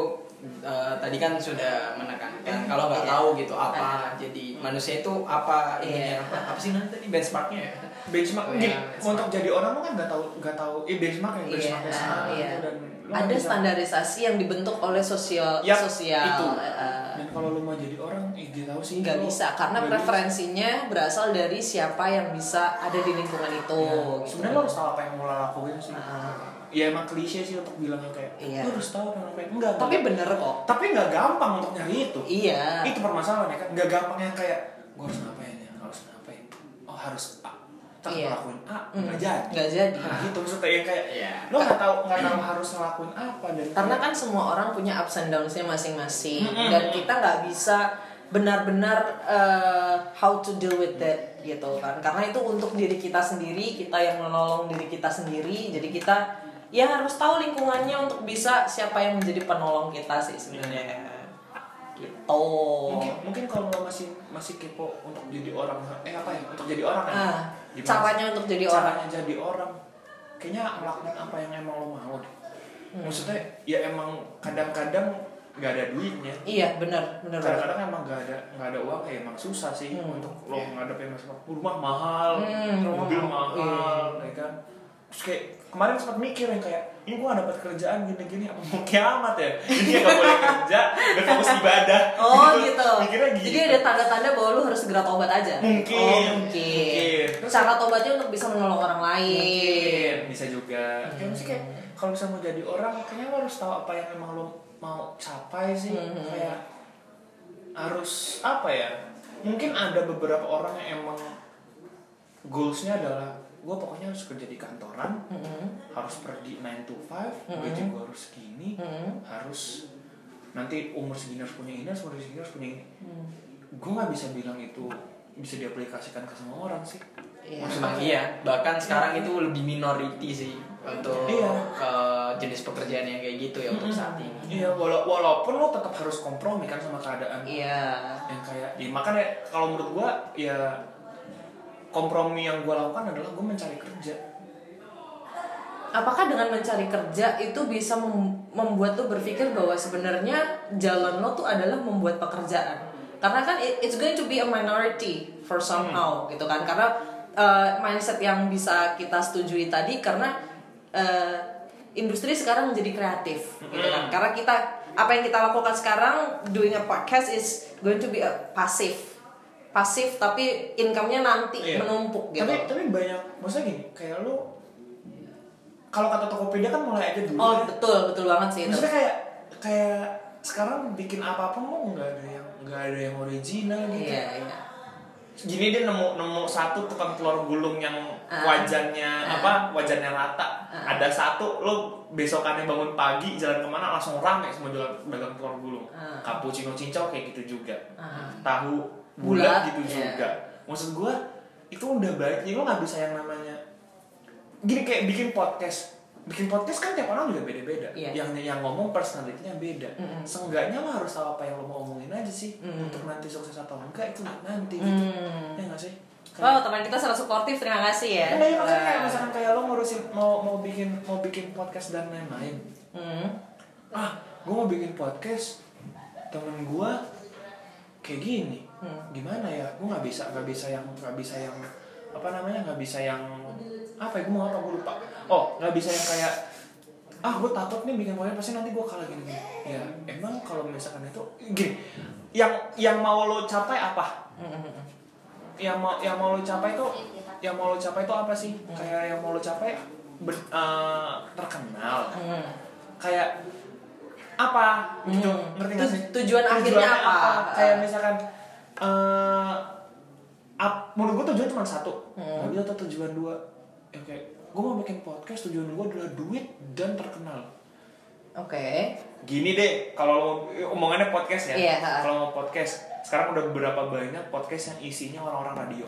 [SPEAKER 4] eh, tadi kan sudah menekankan kalau nggak
[SPEAKER 1] Iya.
[SPEAKER 4] tahu gitu apa jadi manusia itu apa ininya
[SPEAKER 1] Iya.
[SPEAKER 4] apa, apa sih namanya tadi benchmarknya ya?
[SPEAKER 5] benchmark
[SPEAKER 4] Oh, iya,
[SPEAKER 5] gini,
[SPEAKER 4] benchmark.
[SPEAKER 5] untuk jadi orang lu kan nggak tahu nggak tahu eh benchmark ya
[SPEAKER 1] Iya,
[SPEAKER 5] benchmarknya sama
[SPEAKER 1] iya.
[SPEAKER 5] gitu, dan lu nggak
[SPEAKER 1] Ada
[SPEAKER 5] bisa-
[SPEAKER 1] standarisasi yang dibentuk oleh sosial
[SPEAKER 5] Yap,
[SPEAKER 1] sosial.
[SPEAKER 5] itu.
[SPEAKER 1] eh,
[SPEAKER 5] dan kalau lu mau jadi orang eh dia tahu sih
[SPEAKER 1] nggak
[SPEAKER 5] lu
[SPEAKER 1] bisa karena
[SPEAKER 5] nggak Iya.
[SPEAKER 1] preferensinya berasal dari siapa yang bisa ada di lingkungan itu
[SPEAKER 5] bisa. Ya,
[SPEAKER 1] gitu. Nah.
[SPEAKER 5] sebenarnya lu harus tahu apa yang mau lo lakuin sih
[SPEAKER 1] Ah.
[SPEAKER 5] ya emang klise sih untuk bilangnya kayak
[SPEAKER 1] Iya.
[SPEAKER 5] lu harus tahu apa yang lo lakuin enggak
[SPEAKER 1] tapi bener kok
[SPEAKER 5] tapi nggak gampang untuk nyari itu
[SPEAKER 1] iya
[SPEAKER 5] itu permasalahannya kan nggak gampang yang kayak gue harus ngapain ya harus ngapain oh harus A tak
[SPEAKER 1] Iya.
[SPEAKER 5] ngelakuin A
[SPEAKER 1] Mm,
[SPEAKER 5] nggak jadi
[SPEAKER 1] nggak jadi
[SPEAKER 5] Nah, gitu maksudnya yang kayak
[SPEAKER 4] Iya.
[SPEAKER 5] lo nggak tahu nggak tahu harus ngelakuin apa dan
[SPEAKER 1] karena kan semua orang punya ups and downs-nya masing-masing
[SPEAKER 5] Mm-mm.
[SPEAKER 1] dan kita nggak bisa benar-benar eh, how to deal with that gitu kan karena itu untuk diri kita sendiri kita yang menolong diri kita sendiri jadi kita ya harus tahu lingkungannya untuk bisa siapa yang menjadi penolong kita sih sebenarnya gitu
[SPEAKER 5] mungkin Oh, mungkin kalau lo masih masih kepo untuk jadi orang eh apa ya untuk jadi orang ya
[SPEAKER 1] Ah,
[SPEAKER 5] Gimana
[SPEAKER 1] caranya
[SPEAKER 5] sih?
[SPEAKER 1] untuk jadi
[SPEAKER 5] Caranya
[SPEAKER 1] orang
[SPEAKER 5] jadi orang kayaknya melakukan apa yang emang lo mau deh
[SPEAKER 1] Hmm.
[SPEAKER 5] maksudnya ya emang kadang-kadang nggak ada duitnya
[SPEAKER 1] iya benar benar benar.
[SPEAKER 5] kadang-kadang emang nggak ada nggak ada uang ya emang susah sih untuk lo ngadepin masalah rumah mahal
[SPEAKER 1] Iya. Hmm, rumah
[SPEAKER 5] mobil
[SPEAKER 1] mahal. Iya.
[SPEAKER 5] mahal ya kan terus kayak kemarin sempat mikir yang kayak ini gua nggak dapat kerjaan gini-gini apa mau kiamat ya ini kayak nggak boleh kerja udah fokus ibadah
[SPEAKER 1] Oh gitu.
[SPEAKER 5] mikirnya gitu
[SPEAKER 1] Jadi ada tanda-tanda bahwa lu harus segera tobat aja.
[SPEAKER 5] Mungkin.
[SPEAKER 1] Oh, mungkin.
[SPEAKER 5] Mungkin. Terus-
[SPEAKER 1] Cara tobatnya untuk bisa menolong orang
[SPEAKER 5] mungkin
[SPEAKER 1] lain.
[SPEAKER 5] bisa juga kayak mesti kayak kalau misalnya mau jadi orang kayaknya lo harus tahu apa yang emang lo mau capai sih
[SPEAKER 1] Mhm.
[SPEAKER 5] kayak harus apa ya mungkin ada beberapa orang yang emang goalsnya adalah gue pokoknya harus kerja di kantoran
[SPEAKER 1] Mm-mm.
[SPEAKER 5] harus pergi 9 to 5
[SPEAKER 1] Mhm.
[SPEAKER 5] gaji gue harus segini
[SPEAKER 1] Mhm.
[SPEAKER 5] harus nanti umur segini harus punya ini harus umur segini harus punya ini gue nggak bisa bilang itu bisa diaplikasikan ke semua orang sih
[SPEAKER 1] Iya.
[SPEAKER 4] Memang iya, bahkan sekarang itu lebih minority sih untuk
[SPEAKER 5] Iya.
[SPEAKER 4] ke jenis pekerjaan yang kayak gitu ya untuk saat ini.
[SPEAKER 5] Iya, wala- walaupun lo tetap harus kompromi kan sama keadaan.
[SPEAKER 1] Iya.
[SPEAKER 5] Yang kayak, ya, makanya kalau menurut gua ya kompromi yang gua lakukan adalah gua mencari kerja.
[SPEAKER 1] Apakah dengan mencari kerja itu bisa mem- membuat lu berpikir bahwa sebenarnya jalan lo tuh adalah membuat pekerjaan? Karena kan it- it's going to be a minority for somehow
[SPEAKER 5] Hmm.
[SPEAKER 1] gitu kan. Karena uh, mindset yang bisa kita setujui tadi karena uh, industri sekarang menjadi kreatif gitu kan.
[SPEAKER 5] Hmm.
[SPEAKER 1] Karena kita apa yang kita lakukan sekarang doing a podcast is going to be a pasif. Pasif tapi income-nya nanti
[SPEAKER 5] Iya.
[SPEAKER 1] menumpuk gitu.
[SPEAKER 5] Tapi tapi banyak, maksudnya gini, kayak lo kalau kata Tokopedia kan mulai aja dulu.
[SPEAKER 1] Oh
[SPEAKER 5] kan?
[SPEAKER 1] betul betul banget sih itu.
[SPEAKER 5] Maksudnya kayak kayak sekarang bikin apapun lo nggak ada yang nggak ada yang original gitu.
[SPEAKER 1] Iya iya.
[SPEAKER 5] Gini dia nemu nemu satu tukang telur gulung yang
[SPEAKER 1] Ah.
[SPEAKER 5] wajannya
[SPEAKER 1] Ah.
[SPEAKER 5] apa wajannya rata.
[SPEAKER 1] Ah.
[SPEAKER 5] Ada satu lo besokannya bangun pagi jalan kemana langsung rame semua jualan dagang telur gulung.
[SPEAKER 1] Ah.
[SPEAKER 5] Cappuccino cincau kayak gitu juga.
[SPEAKER 1] Ah.
[SPEAKER 5] Tahu
[SPEAKER 1] Bulat,
[SPEAKER 5] bulat gitu
[SPEAKER 1] iya.
[SPEAKER 5] juga. Maksud gua itu udah baik jadi lo nggak bisa yang namanya gini kayak bikin podcast bikin podcast kan tiap orang juga beda-beda
[SPEAKER 1] Iya.
[SPEAKER 5] yang yang ngomong personalitinya beda
[SPEAKER 1] Mm-mm.
[SPEAKER 5] seenggaknya lo harus tahu apa yang lo mau omongin aja sih
[SPEAKER 1] Mm.
[SPEAKER 5] untuk nanti sukses atau enggak itu nanti gitu
[SPEAKER 1] Hmm.
[SPEAKER 5] ya nggak sih
[SPEAKER 1] Wow,
[SPEAKER 5] Kayak-
[SPEAKER 1] teman kita sangat suportif, terima kasih ya.
[SPEAKER 5] Enggak, ya maksudnya kayak
[SPEAKER 1] Wah.
[SPEAKER 5] misalkan kayak lo ngurusin mau mau bikin mau bikin podcast dan lain-lain.
[SPEAKER 1] Hmm.
[SPEAKER 5] Ah, gue mau bikin podcast temen gue kayak gini.
[SPEAKER 1] Hmm.
[SPEAKER 5] Gimana ya? Gue nggak bisa nggak bisa yang nggak bisa yang apa namanya nggak bisa yang apa ya gue mau apa gue lupa. Oh, nggak bisa yang kayak ah gue takut nih bikin podcast pasti nanti gue kalah gini, gini. Ya emang kalau misalkan itu gini, yang yang mau lo capai apa?
[SPEAKER 1] Hmm.
[SPEAKER 5] yang mau yang mau lo capai itu yang mau lo capai itu apa sih kayak yang mau lo capai ber- eh, terkenal
[SPEAKER 1] Hmm.
[SPEAKER 5] kayak apa gitu
[SPEAKER 1] Hmm.
[SPEAKER 5] ngerti nggak
[SPEAKER 1] Tu-
[SPEAKER 5] sih
[SPEAKER 1] tujuan akhirnya apa?
[SPEAKER 5] kayak misalkan eh ap- menurut gue tujuan cuma satu
[SPEAKER 1] Hmm.
[SPEAKER 5] nggak bisa tuh tujuan dua ya kayak gue mau bikin podcast tujuan gue adalah duit dan terkenal
[SPEAKER 1] Oke.
[SPEAKER 5] gini deh kalau lo- omongannya podcast ya
[SPEAKER 1] Iya, ha.
[SPEAKER 5] kalau mau podcast sekarang udah berapa banyak podcast yang isinya orang-orang radio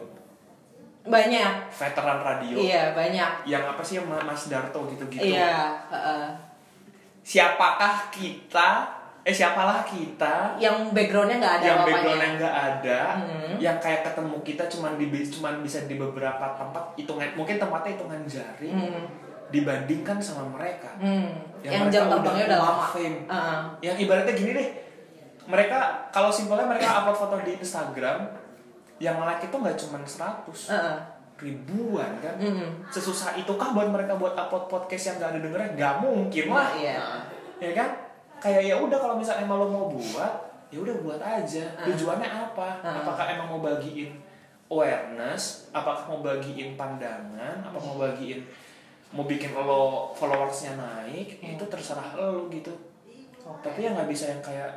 [SPEAKER 1] Banyak.
[SPEAKER 5] veteran radio
[SPEAKER 1] Iya, banyak.
[SPEAKER 5] yang apa sih yang Ma- Mas Darto gitu-gitu
[SPEAKER 1] Iya, heeh.
[SPEAKER 5] siapakah kita eh siapalah kita
[SPEAKER 1] Yang backgroundnya nggak ada ya.
[SPEAKER 5] yang
[SPEAKER 1] apa-apanya.
[SPEAKER 5] backgroundnya nggak ada
[SPEAKER 1] Hmm.
[SPEAKER 5] yang kayak ketemu kita cuman di cuman bisa di beberapa tempat hitungan mungkin tempatnya hitungan jari
[SPEAKER 1] Hmm.
[SPEAKER 5] dibandingkan sama mereka
[SPEAKER 1] Hmm.
[SPEAKER 5] Yang
[SPEAKER 1] Yang,
[SPEAKER 5] mereka
[SPEAKER 1] jam
[SPEAKER 5] udah
[SPEAKER 1] terbangnya udah lama.
[SPEAKER 5] fame.
[SPEAKER 1] Heeh.
[SPEAKER 5] yang ibaratnya gini deh mereka kalau simpelnya mereka upload foto di Instagram yang like itu nggak cuman 100
[SPEAKER 1] Heeh. Hmm,
[SPEAKER 5] ribuan kan
[SPEAKER 1] Mm-mm.
[SPEAKER 5] sesusah itukah buat mereka buat upload podcast yang gak ada dengernya nggak mungkin lah
[SPEAKER 1] Iya.
[SPEAKER 5] ya kan kayak ya udah kalau misalnya emang lo mau buat ya udah buat aja tujuannya apa
[SPEAKER 1] Ah.
[SPEAKER 5] apakah emang mau bagiin awareness apakah mau bagiin pandangan apa mau bagiin mau bikin lo followersnya naik
[SPEAKER 1] Hmm.
[SPEAKER 5] itu terserah lo gitu tapi ya nggak bisa yang kayak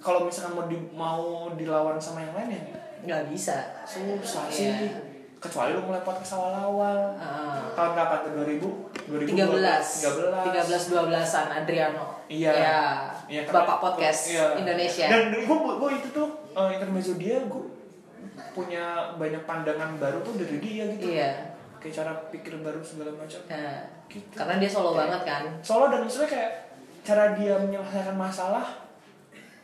[SPEAKER 5] kalau misalkan mau di- mau dilawan sama yang lain ya
[SPEAKER 1] Nggak bisa.
[SPEAKER 5] susah
[SPEAKER 1] Iya.
[SPEAKER 5] sih kecuali lo mulai podcast awal-awal
[SPEAKER 1] Ah.
[SPEAKER 5] tahun kapan tuh 2000
[SPEAKER 1] 13
[SPEAKER 5] 13
[SPEAKER 1] 13 12-an Adriano.
[SPEAKER 5] Iya.
[SPEAKER 1] Ya.
[SPEAKER 5] Iya, karena-
[SPEAKER 1] Bapak podcast
[SPEAKER 5] Iya.
[SPEAKER 1] Indonesia.
[SPEAKER 5] Dan gue gue itu tuh eh, intermezzo dia gue punya banyak pandangan baru tuh dari dia gitu.
[SPEAKER 1] Iya.
[SPEAKER 5] Kayak cara pikir baru segala macam.
[SPEAKER 1] Nah,
[SPEAKER 5] Gitu.
[SPEAKER 1] Karena dia solo banget kan.
[SPEAKER 5] Soalnya dan maksudnya kayak cara dia menyelesaikan masalah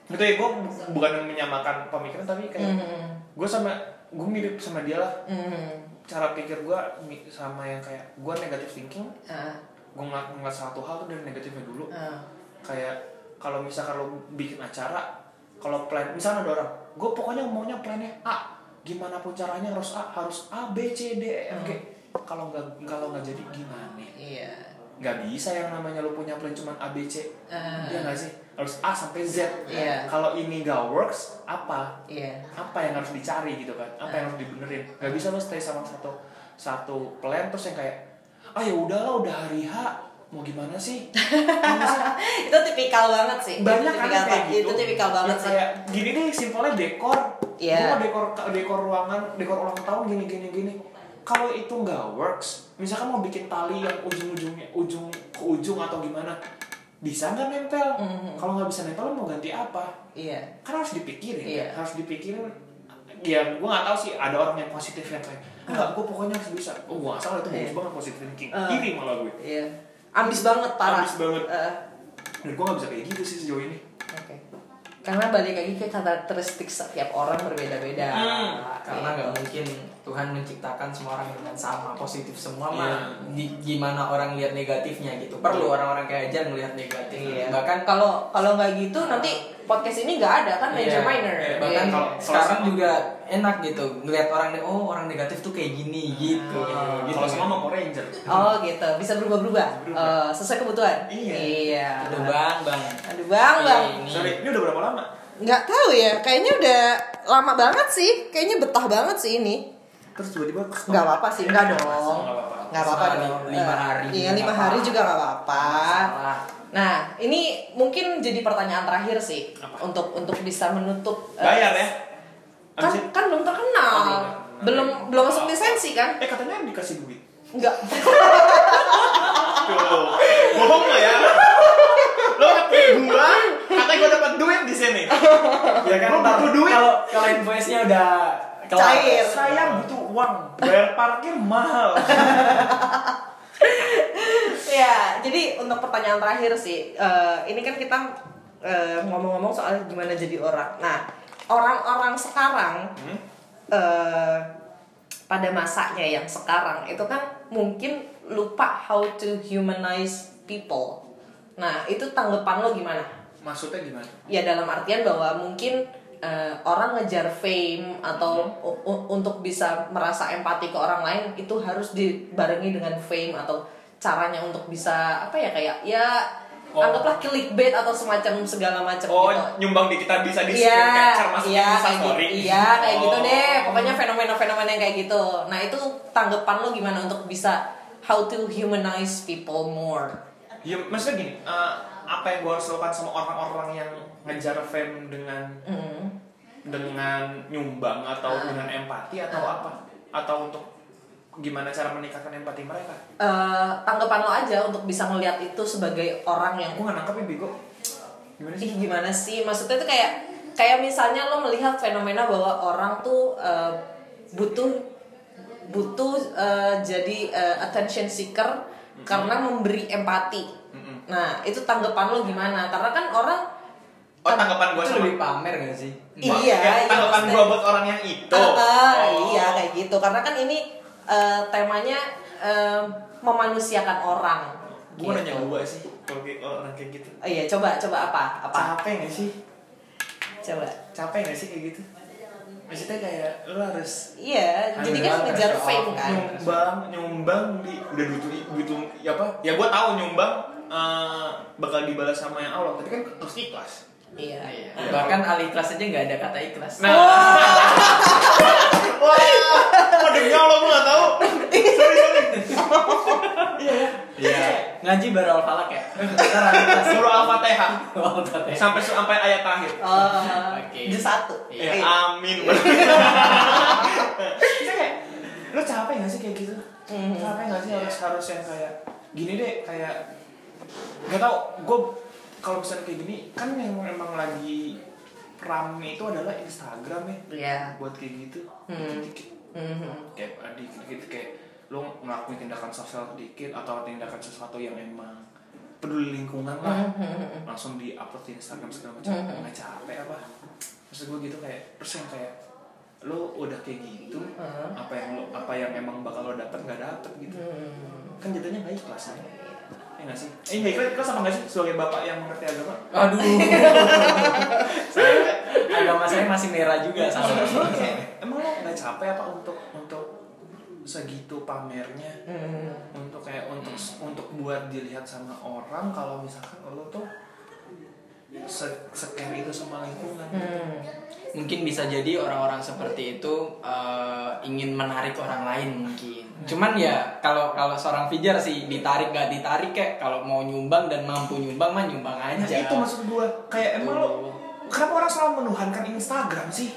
[SPEAKER 5] gitu ya gue bukan menyamakan pemikiran tapi kayak
[SPEAKER 1] Hmm.
[SPEAKER 5] gue sama gue mirip sama dia lah
[SPEAKER 1] Hmm.
[SPEAKER 5] cara pikir gue sama yang kayak gue negatif thinking
[SPEAKER 1] Ah.
[SPEAKER 5] gue ngeliat, ngeliat satu hal tuh dari negatifnya dulu
[SPEAKER 1] Ah.
[SPEAKER 5] kayak kalau misalkan lo bikin acara kalau plan misalnya ada orang gue pokoknya maunya plannya A gimana pun caranya harus A harus A B C D E F G kalau nggak kalau nggak jadi gimana
[SPEAKER 1] Iya.
[SPEAKER 5] nggak bisa yang namanya lo punya plan cuman A B C
[SPEAKER 1] Ah.
[SPEAKER 5] ya nggak sih harus A sampai Z
[SPEAKER 1] Iya.
[SPEAKER 5] kalau ini nggak works apa
[SPEAKER 1] Iya.
[SPEAKER 5] apa yang harus dicari gitu kan apa yang harus dibenerin nggak bisa lo stay sama satu satu plan terus yang kayak ah ya udahlah udah hari H mau gimana sih Gimana sih?
[SPEAKER 1] itu tipikal banget sih Itu
[SPEAKER 5] banyak kan
[SPEAKER 1] tipikal
[SPEAKER 5] yang kayak
[SPEAKER 1] banget.
[SPEAKER 5] gitu
[SPEAKER 1] itu tipikal banget
[SPEAKER 5] Yang
[SPEAKER 1] sih
[SPEAKER 5] kayak gini deh simpelnya dekor
[SPEAKER 1] Iya.
[SPEAKER 5] Gua mau dekor dekor ruangan dekor ulang tahun gini gini gini kalau itu nggak works misalkan mau bikin tali yang ujung ujungnya ujung ke ujung atau gimana bisa nggak nempel
[SPEAKER 1] Mhm.
[SPEAKER 5] kalau nggak bisa nempel lo mau ganti apa
[SPEAKER 1] iya
[SPEAKER 5] kan harus dipikirin
[SPEAKER 1] Iya.
[SPEAKER 5] kan? harus dipikirin ya gue gak tahu sih ada orang yang positif yang kayak enggak gue pokoknya harus bisa oh gue salah itu
[SPEAKER 1] Ah.
[SPEAKER 5] bagus
[SPEAKER 1] Iya.
[SPEAKER 5] banget positive thinking
[SPEAKER 1] Eh.
[SPEAKER 5] iri malah gue
[SPEAKER 1] iya ambis banget parah
[SPEAKER 5] Ambis banget.
[SPEAKER 1] Eh,
[SPEAKER 5] dan gue gak bisa kayak gitu sih sejauh ini
[SPEAKER 1] oke karena balik lagi ke karakteristik setiap orang berbeda-beda Iya.
[SPEAKER 5] Hmm,
[SPEAKER 4] karena nggak mungkin Tuhan menciptakan semua orang dengan sama positif semua mah
[SPEAKER 5] Iya.
[SPEAKER 4] Di- gimana orang lihat negatifnya gitu perlu orang-orang kayak aja ngelihat negatif
[SPEAKER 1] Iya.
[SPEAKER 4] bahkan
[SPEAKER 1] kalau kalau nggak gitu nanti podcast ini nggak ada kan major
[SPEAKER 4] Iya,
[SPEAKER 1] minor
[SPEAKER 5] iya,
[SPEAKER 4] bahkan
[SPEAKER 1] Iya.
[SPEAKER 5] kalau-
[SPEAKER 4] sekarang juga enak gitu ngelihat orang ne- oh orang negatif tuh kayak gini gitu,
[SPEAKER 1] Ah.
[SPEAKER 4] gitu.
[SPEAKER 5] kalau sama mau Power Ranger
[SPEAKER 1] oh gitu bisa berubah-berubah Eh,
[SPEAKER 5] Berubah.
[SPEAKER 1] sesuai kebutuhan
[SPEAKER 5] Iya.
[SPEAKER 1] iya
[SPEAKER 4] Aduh, bang bang
[SPEAKER 1] aduh bang bang
[SPEAKER 4] Ini.
[SPEAKER 5] Sorry, ini udah berapa lama?
[SPEAKER 1] nggak tahu ya kayaknya udah lama banget sih kayaknya betah banget sih ini
[SPEAKER 5] Terus tiba-tiba
[SPEAKER 1] Nggak apa-apa sih, nggak dong.
[SPEAKER 5] apa-apa.
[SPEAKER 1] Nggak apa-apa
[SPEAKER 4] Selama
[SPEAKER 1] dong.
[SPEAKER 4] lima hari
[SPEAKER 1] Iya, lima
[SPEAKER 4] juga nggak
[SPEAKER 1] hari
[SPEAKER 4] apa-apa.
[SPEAKER 1] juga nggak apa-apa.
[SPEAKER 4] Masalah.
[SPEAKER 1] Nah, ini mungkin jadi pertanyaan terakhir sih
[SPEAKER 5] Apa?
[SPEAKER 1] untuk untuk bisa menutup. eh,
[SPEAKER 5] Bayar ya?
[SPEAKER 1] Kan,
[SPEAKER 5] Abis
[SPEAKER 1] kan belum terkenal,
[SPEAKER 5] Oh, iya.
[SPEAKER 1] belum belum masuk lisensi kan?
[SPEAKER 5] itu- eh katanya dikasih duit.
[SPEAKER 1] Nggak.
[SPEAKER 5] Tuh, bohong lo ya? Lo ngetik gua, katanya gua dapat duit di sini. Ya kan? Gua butuh duit.
[SPEAKER 4] kalau kalau invoice-nya udah kelar.
[SPEAKER 1] Cair.
[SPEAKER 5] Saya butuh uang. Bayar parkir mahal.
[SPEAKER 1] ya, jadi untuk pertanyaan terakhir sih, eh, ini kan kita eh, ngomong-ngomong soal gimana jadi orang. Nah, orang-orang sekarang
[SPEAKER 5] Hmm?
[SPEAKER 1] eh, pada masanya yang sekarang itu kan mungkin lupa how to humanize people. Nah, itu tanggapan lo gimana?
[SPEAKER 5] Maksudnya gimana?
[SPEAKER 1] Ya dalam artian bahwa mungkin eh, orang ngejar fame
[SPEAKER 5] Iya.
[SPEAKER 1] atau u- u- untuk bisa merasa empati ke orang lain itu harus dibarengi dengan fame atau caranya untuk bisa apa ya kayak ya
[SPEAKER 5] Oh.
[SPEAKER 1] anggaplah clickbait atau semacam segala macam
[SPEAKER 5] Oh,
[SPEAKER 1] gitu.
[SPEAKER 5] nyumbang di kita bisa di
[SPEAKER 1] Iya,
[SPEAKER 5] screen capture masukin
[SPEAKER 1] iya,
[SPEAKER 5] Insta
[SPEAKER 1] kayak gitu,
[SPEAKER 5] story.
[SPEAKER 1] iya, kayak gitu
[SPEAKER 5] Oh.
[SPEAKER 1] deh. Pokoknya fenomena-fenomena yang kayak gitu. Nah itu tanggapan lo gimana untuk bisa how to humanize people more?
[SPEAKER 5] Ya, maksudnya gini, eh, apa yang gua harus lakukan sama orang-orang yang ngejar fame dengan
[SPEAKER 1] Hmm. Ah.
[SPEAKER 5] dengan nyumbang atau dengan empati atau apa atau untuk gimana cara meningkatkan empati mereka
[SPEAKER 1] Eh, tanggapan lo aja untuk bisa ngelihat itu sebagai orang yang
[SPEAKER 5] aku nggak nangkep ya bego gimana sih
[SPEAKER 1] ih gimana sih maksudnya itu kayak kayak misalnya lo melihat fenomena bahwa orang tuh eh, butuh butuh eh, jadi eh, attention seeker karena memberi empati nah itu tanggapan lo gimana karena kan orang
[SPEAKER 5] oh tanggapan gue
[SPEAKER 4] itu
[SPEAKER 5] sama
[SPEAKER 4] lebih pamer gak sih?
[SPEAKER 5] Wah,
[SPEAKER 1] Iya,
[SPEAKER 5] kayak
[SPEAKER 1] iya,
[SPEAKER 5] tanggapan
[SPEAKER 1] maksudnya-
[SPEAKER 5] gue buat orang yang itu
[SPEAKER 1] Ah, ah,
[SPEAKER 5] Oh.
[SPEAKER 1] iya kayak gitu karena kan ini eh, temanya eh, memanusiakan orang
[SPEAKER 5] gue nanya
[SPEAKER 1] Gitu.
[SPEAKER 5] gue sih kalau kayak orang kayak gitu
[SPEAKER 1] Oh iya coba coba apa apa
[SPEAKER 5] capek gak sih
[SPEAKER 1] coba
[SPEAKER 5] capek gak sih kayak gitu maksudnya kayak lo harus
[SPEAKER 1] iya jadi kan
[SPEAKER 4] Ayolah,
[SPEAKER 1] ngejar
[SPEAKER 4] pressure
[SPEAKER 1] fame
[SPEAKER 4] off.
[SPEAKER 1] kan
[SPEAKER 5] nyumbang nyumbang di udah butuh butuh ya apa ya gue tahu nyumbang eh, bakal dibalas sama yang Allah tapi kan harus ikhlas
[SPEAKER 1] iya Nah.
[SPEAKER 4] Bahkan alih kelas aja nggak ada kata ikhlas. Nah,
[SPEAKER 5] Oh. wah padahal Allah gue gak tahu sorry sorry
[SPEAKER 4] Iya. Ngaji baru al-falak ya.
[SPEAKER 5] Eh,
[SPEAKER 4] Ntar alih kelas.
[SPEAKER 5] suruh al-fatihah
[SPEAKER 4] Oh, tante.
[SPEAKER 5] sampai sampai ayat terakhir
[SPEAKER 1] Oh,
[SPEAKER 4] Oke.
[SPEAKER 1] di satu.
[SPEAKER 5] ya
[SPEAKER 1] Eh,
[SPEAKER 5] amin Maksudnya kayak, lo capek gak sih kayak gitu
[SPEAKER 1] Mhm.
[SPEAKER 5] capek gak sih harus harus yang kayak gini deh kayak gak tau gue kalau misalnya kayak gini kan yang emang lagi rame itu adalah Instagram ya
[SPEAKER 1] Iya.
[SPEAKER 5] buat kayak gitu
[SPEAKER 1] Hmm.
[SPEAKER 5] dikit
[SPEAKER 1] Mhm.
[SPEAKER 5] kayak dikit dikit kayak lo ngelakuin tindakan sosial dikit atau tindakan sesuatu yang emang peduli lingkungan lah
[SPEAKER 1] Mhm.
[SPEAKER 5] langsung di upload di Instagram segala macam
[SPEAKER 1] Mhm.
[SPEAKER 5] nggak capek apa maksud gue gitu kayak terus yang kayak lo udah kayak gitu
[SPEAKER 1] Mhm.
[SPEAKER 5] apa yang lo apa yang emang bakal lo dapet nggak dapet gitu
[SPEAKER 1] Hmm.
[SPEAKER 5] kan jadinya nggak ikhlas kan ya nggak sih eh nggak ikhlas ikhlas apa nggak sih sebagai bapak yang mengerti agama
[SPEAKER 4] Aduh. Agama saya masih merah juga sama.
[SPEAKER 5] Kayak, emang lo nggak capek apa untuk untuk segitu pamernya
[SPEAKER 1] Hmm.
[SPEAKER 5] untuk kayak untuk untuk buat dilihat sama orang kalau misalkan lo tuh se secare itu sama lingkungan
[SPEAKER 1] Hmm.
[SPEAKER 4] Mungkin bisa jadi orang-orang seperti itu eh, ingin menarik orang lain mungkin. Cuman ya kalau kalau seorang Fijar sih ditarik gak ditarik kayak kalau mau nyumbang dan mampu nyumbang mah nyumbang
[SPEAKER 5] Nah,
[SPEAKER 4] aja.
[SPEAKER 5] itu maksud gue kayak emang lo kenapa orang selalu menuhankan Instagram sih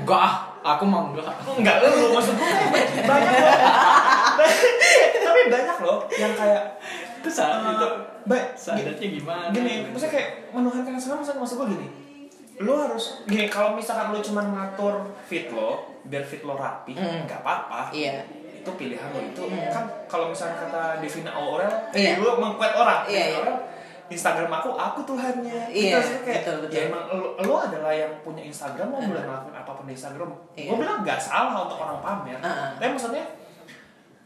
[SPEAKER 4] Enggak ah, aku mau enggak.
[SPEAKER 5] enggak lo maksud gue banyak loh tapi banyak loh yang kayak
[SPEAKER 4] Itu saat
[SPEAKER 5] eh,
[SPEAKER 4] itu
[SPEAKER 5] ba-
[SPEAKER 4] sadarnya gimana? gitu.
[SPEAKER 5] gini maksudnya kayak menuhankan Instagram maksud, maksud gue gini lo harus gini kalau misalkan lo cuma ngatur fit lo biar fit lo rapi
[SPEAKER 1] Hmm.
[SPEAKER 5] nggak apa-apa
[SPEAKER 1] Iya. Hmm.
[SPEAKER 5] itu pilihan lo itu kan kalau misalnya kata Devina Aurel
[SPEAKER 1] Iya.
[SPEAKER 5] dulu mengkuat orang
[SPEAKER 1] Iya,
[SPEAKER 5] Devina
[SPEAKER 1] iya.
[SPEAKER 5] Aurel, Instagram aku aku Tuhannya
[SPEAKER 1] Iya,
[SPEAKER 5] terus gue kayak
[SPEAKER 1] betul, betul. Hmm.
[SPEAKER 5] ya emang lo, lo adalah yang punya Instagram lo boleh ngelakuin apapun di Instagram
[SPEAKER 1] Iya.
[SPEAKER 5] gue bilang nggak salah untuk orang pamer
[SPEAKER 1] Ah.
[SPEAKER 5] tapi maksudnya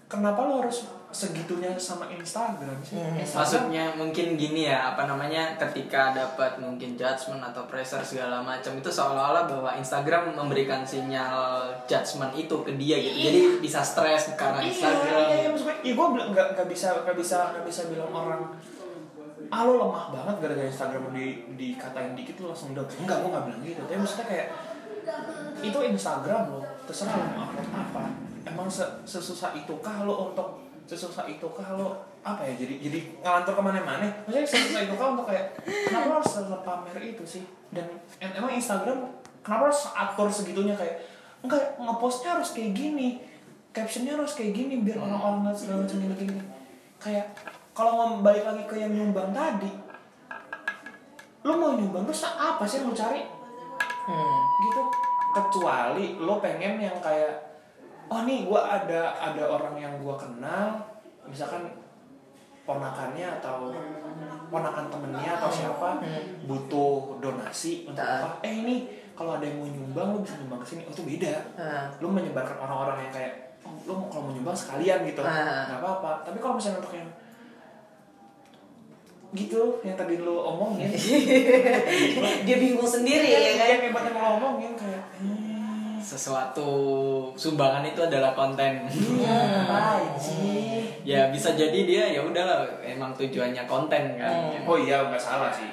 [SPEAKER 5] kenapa lo harus segitunya sama Instagram sih
[SPEAKER 1] Hmm.
[SPEAKER 5] Instagram
[SPEAKER 4] maksudnya mungkin gini ya apa namanya ketika dapat mungkin judgement atau pressure segala macam itu seolah-olah bahwa Instagram memberikan sinyal judgement itu ke dia gitu jadi bisa stres karena Instagram
[SPEAKER 5] Iya, iya, maksudnya, iya gue nggak nggak bisa nggak bisa nggak bisa bilang orang ah lo lemah banget gara-gara Instagram di dikatain dikit lo langsung down. Enggak, gue nggak bilang gitu. Tapi maksudnya kayak itu Instagram lo, terserah lo mau upload apa. Emang se sesusah itukah lo untuk sesusah itukah lo apa ya jadi jadi ngalantur kemana-mana maksudnya sesusah itukah untuk kayak kenapa lo harus selalu pamer itu sih dan em- emang Instagram kenapa harus atur segitunya kayak enggak ngepostnya harus kayak gini captionnya harus kayak gini biar orang-orang nggak segala macam gini gini kayak kalau mau balik lagi ke yang nyumbang tadi lo mau nyumbang terus apa sih yang lo cari
[SPEAKER 1] Hmm.
[SPEAKER 5] gitu kecuali lo pengen yang kayak oh nih gue ada ada orang yang gue kenal misalkan ponakannya atau ponakan temennya atau siapa butuh donasi untuk
[SPEAKER 1] Heeh.
[SPEAKER 5] apa eh ini kalau ada yang mau nyumbang lo bisa nyumbang ke sini oh itu beda
[SPEAKER 1] Ah.
[SPEAKER 5] lo menyebarkan orang-orang yang kayak oh, lo mau- kalau mau nyumbang sekalian gitu
[SPEAKER 1] Ah.
[SPEAKER 5] nggak apa-apa tapi kalau misalnya untuk yang gitu yang tadi lo omongin
[SPEAKER 1] Dia bingung sendiri ya
[SPEAKER 5] yang
[SPEAKER 1] kan.
[SPEAKER 5] yang hebatnya lo omongin kayak "Hmm,
[SPEAKER 4] sesuatu sumbangan itu adalah konten
[SPEAKER 5] Iya.
[SPEAKER 4] ya bisa jadi dia ya udahlah emang tujuannya konten kan
[SPEAKER 5] Oh iya nggak salah sih.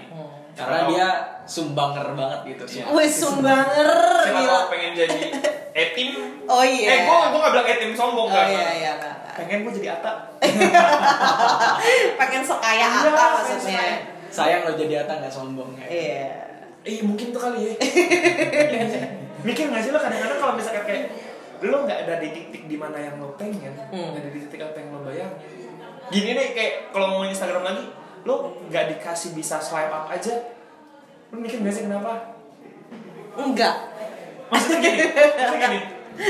[SPEAKER 4] karena dia sumbanger banget gitu
[SPEAKER 1] Wih sumbanger
[SPEAKER 5] siapa
[SPEAKER 1] gila.
[SPEAKER 5] tahu pengen jadi etim.
[SPEAKER 1] Oh iya.
[SPEAKER 5] Eh gua gua nggak bilang etim sombong
[SPEAKER 1] Oh
[SPEAKER 5] kan.
[SPEAKER 1] iya iya. nggak, nggak.
[SPEAKER 5] Pengen gua jadi ata.
[SPEAKER 1] Pengen sekaya apa
[SPEAKER 5] Iya, pengen
[SPEAKER 1] maksudnya?
[SPEAKER 5] sekaya.
[SPEAKER 4] sayang lo jadi Ata nggak sombong ya
[SPEAKER 1] Iya.
[SPEAKER 5] Eh mungkin tuh kali ya. Mikir nggak sih lo kadang-kadang kalau misalkan kayak lo nggak ada di titik di mana yang lo pengen
[SPEAKER 1] Hmm.
[SPEAKER 5] nggak ada di titik apa yang lo bayangin gini deh kayak kalau ngomongin Instagram lagi lo nggak dikasih bisa swipe up aja lo mikir nggak sih kenapa
[SPEAKER 1] enggak
[SPEAKER 5] maksudnya gini maksudnya gini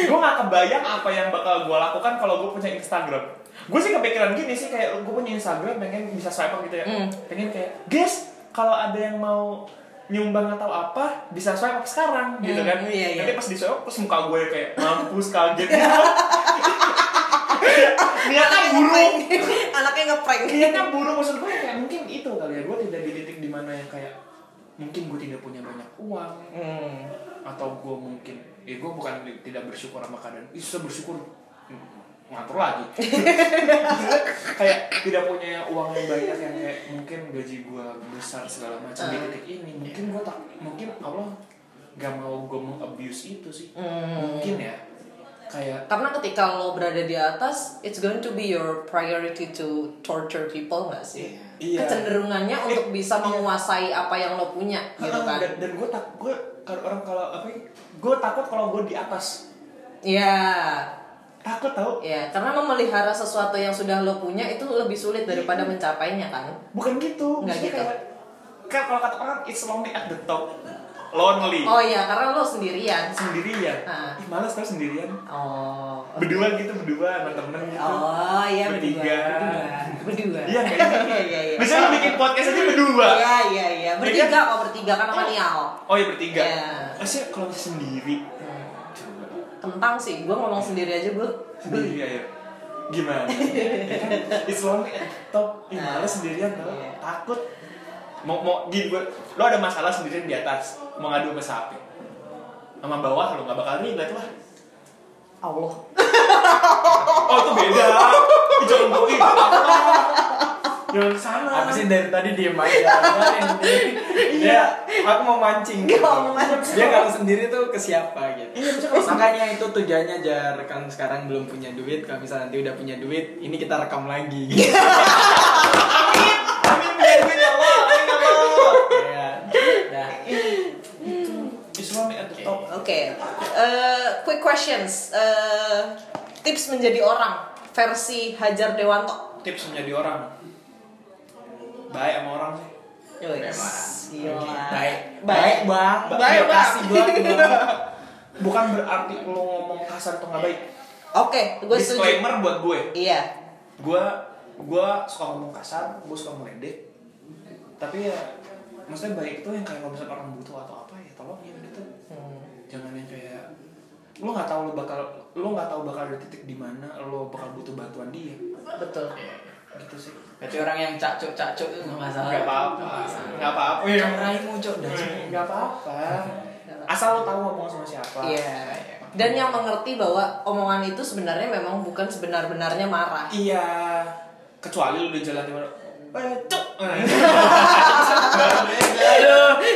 [SPEAKER 5] gue nggak kebayang apa yang bakal gue lakukan kalau gue punya Instagram gue sih kepikiran gini sih kayak gue punya Instagram pengen bisa swipe up gitu ya
[SPEAKER 1] Hmm.
[SPEAKER 5] pengen kayak guys kalau ada yang mau nyumbang atau apa bisa swipe up sekarang gitu
[SPEAKER 1] Hmm,
[SPEAKER 5] kan
[SPEAKER 1] iya, iya.
[SPEAKER 5] nanti pas di swipe up terus muka gue kayak mampus kaget gitu niatnya buruk
[SPEAKER 1] anaknya ngeprank
[SPEAKER 5] niatnya Iya, kan buruk maksud gue kayak mungkin itu kali ya gue tidak di titik dimana yang kayak mungkin gue tidak punya banyak uang
[SPEAKER 1] Hmm.
[SPEAKER 5] atau gue mungkin ya gue bukan di- tidak bersyukur sama keadaan ih susah bersyukur Hmm, ngatur lagi kayak tidak punya uang yang banyak yang kayak mungkin gaji gue besar segala macam
[SPEAKER 1] Hmm.
[SPEAKER 5] di titik ini mungkin gue tak mungkin Allah gak mau gue abuse itu sih
[SPEAKER 1] Hmm.
[SPEAKER 5] mungkin ya kayak
[SPEAKER 1] karena ketika lo berada di atas it's going to be your priority to torture people nggak sih
[SPEAKER 5] Iya.
[SPEAKER 1] kecenderungannya untuk
[SPEAKER 5] Eh,
[SPEAKER 1] bisa
[SPEAKER 5] iya.
[SPEAKER 1] menguasai apa yang lo punya gitu
[SPEAKER 5] "Ah,
[SPEAKER 1] kan
[SPEAKER 5] dan, dan gue tak gue kalau orang kalau apa gue takut kalau gue di atas
[SPEAKER 1] ya
[SPEAKER 5] takut tau
[SPEAKER 1] ya karena memelihara sesuatu yang sudah lo punya itu lebih sulit
[SPEAKER 5] Iya.
[SPEAKER 1] daripada mencapainya kan
[SPEAKER 5] bukan gitu
[SPEAKER 1] Nggak
[SPEAKER 5] Maksudnya
[SPEAKER 1] gitu.
[SPEAKER 5] kayak- kan kalau kata orang it's lonely at the top lonely
[SPEAKER 1] oh iya karena lo sendirian
[SPEAKER 5] sendirian
[SPEAKER 1] Ah.
[SPEAKER 5] Ih, malas tau sendirian
[SPEAKER 1] oh
[SPEAKER 5] berdua gitu berdua sama temen gitu
[SPEAKER 1] Oh iya berdua.
[SPEAKER 5] Bertiga.
[SPEAKER 1] Berdua. Berdua.
[SPEAKER 5] iya kayak gitu.
[SPEAKER 1] Iya iya iya.
[SPEAKER 5] Biasanya lu bikin podcast aja berdua
[SPEAKER 1] Iya iya iya.
[SPEAKER 5] Iya
[SPEAKER 1] Bertiga oh bertiga kan sama Nial.
[SPEAKER 5] oh iya bertiga
[SPEAKER 1] Iya.
[SPEAKER 5] Maksudnya kalau bisa sendiri coba
[SPEAKER 1] Kentang sih. Gua ngomong sendiri aja gua.
[SPEAKER 5] sendiri ayo gimana Ya kan? it's lonely at the top Ih, malas sendirian tau
[SPEAKER 1] Iya.
[SPEAKER 5] takut mau mau gini gue lo ada masalah sendirian di atas mau ngadu sama siapa sama bawah lo nggak bakal relate lah
[SPEAKER 1] Allah.
[SPEAKER 5] Oh itu beda. Itu jangan bukti. Jangan sana.
[SPEAKER 4] Apa sih dari tadi diem aja? Iya, aku mau mancing. gitu.
[SPEAKER 1] Nggak mau mancing.
[SPEAKER 4] Dia kalau sendiri tuh ke siapa gitu.
[SPEAKER 5] Iya, maksudnya
[SPEAKER 4] Makanya itu tujuannya jar kan sekarang belum punya duit, kalau misalnya nanti udah punya duit, ini kita rekam lagi. Gitu.
[SPEAKER 1] Iya.
[SPEAKER 5] Amin biar gue nyawa. Amin ya Allah.
[SPEAKER 4] Iya. Nah,
[SPEAKER 1] Iya.
[SPEAKER 5] Islam at the top.
[SPEAKER 1] Oke. Eh, quick questions. Eh, tips menjadi orang versi Hajar Dewanto.
[SPEAKER 5] Tips menjadi orang. Baik sama orang sih.
[SPEAKER 1] Yes. Gila.
[SPEAKER 4] baik,
[SPEAKER 1] Baik.
[SPEAKER 4] baik bang,
[SPEAKER 1] Ah,
[SPEAKER 5] Ba-
[SPEAKER 1] Baik,
[SPEAKER 5] terima
[SPEAKER 1] Bang.
[SPEAKER 5] kasih banget, Bang. Bukan berarti lo ngomong kasar atau nggak baik.
[SPEAKER 1] Oke, gue setuju.
[SPEAKER 5] Disclaimer buat gue.
[SPEAKER 1] Iya.
[SPEAKER 5] Gue gue suka ngomong kasar, gue suka meledek. Tapi ya maksudnya baik itu yang kayak kalau misalnya orang butuh atau apa ya tolongin gitu.
[SPEAKER 1] Hmm.
[SPEAKER 5] jangan yang kayak lo nggak tahu lo bakal lo nggak tahu bakal ada titik di mana lo bakal butuh bantuan dia
[SPEAKER 1] Betul.
[SPEAKER 5] gitu sih
[SPEAKER 4] Berarti orang yang cacok cacok itu nggak masalah.
[SPEAKER 5] nggak apa-apa nggak apa-apa ya
[SPEAKER 4] Raimu cok dah. Cok.
[SPEAKER 5] nggak apa-apa asal lo tahu ngomong sama siapa
[SPEAKER 1] Iya. Dan yang mengerti bahwa omongan itu sebenarnya memang bukan sebenar-benarnya marah.
[SPEAKER 5] iya kecuali lo udah jalan di mana eh cuk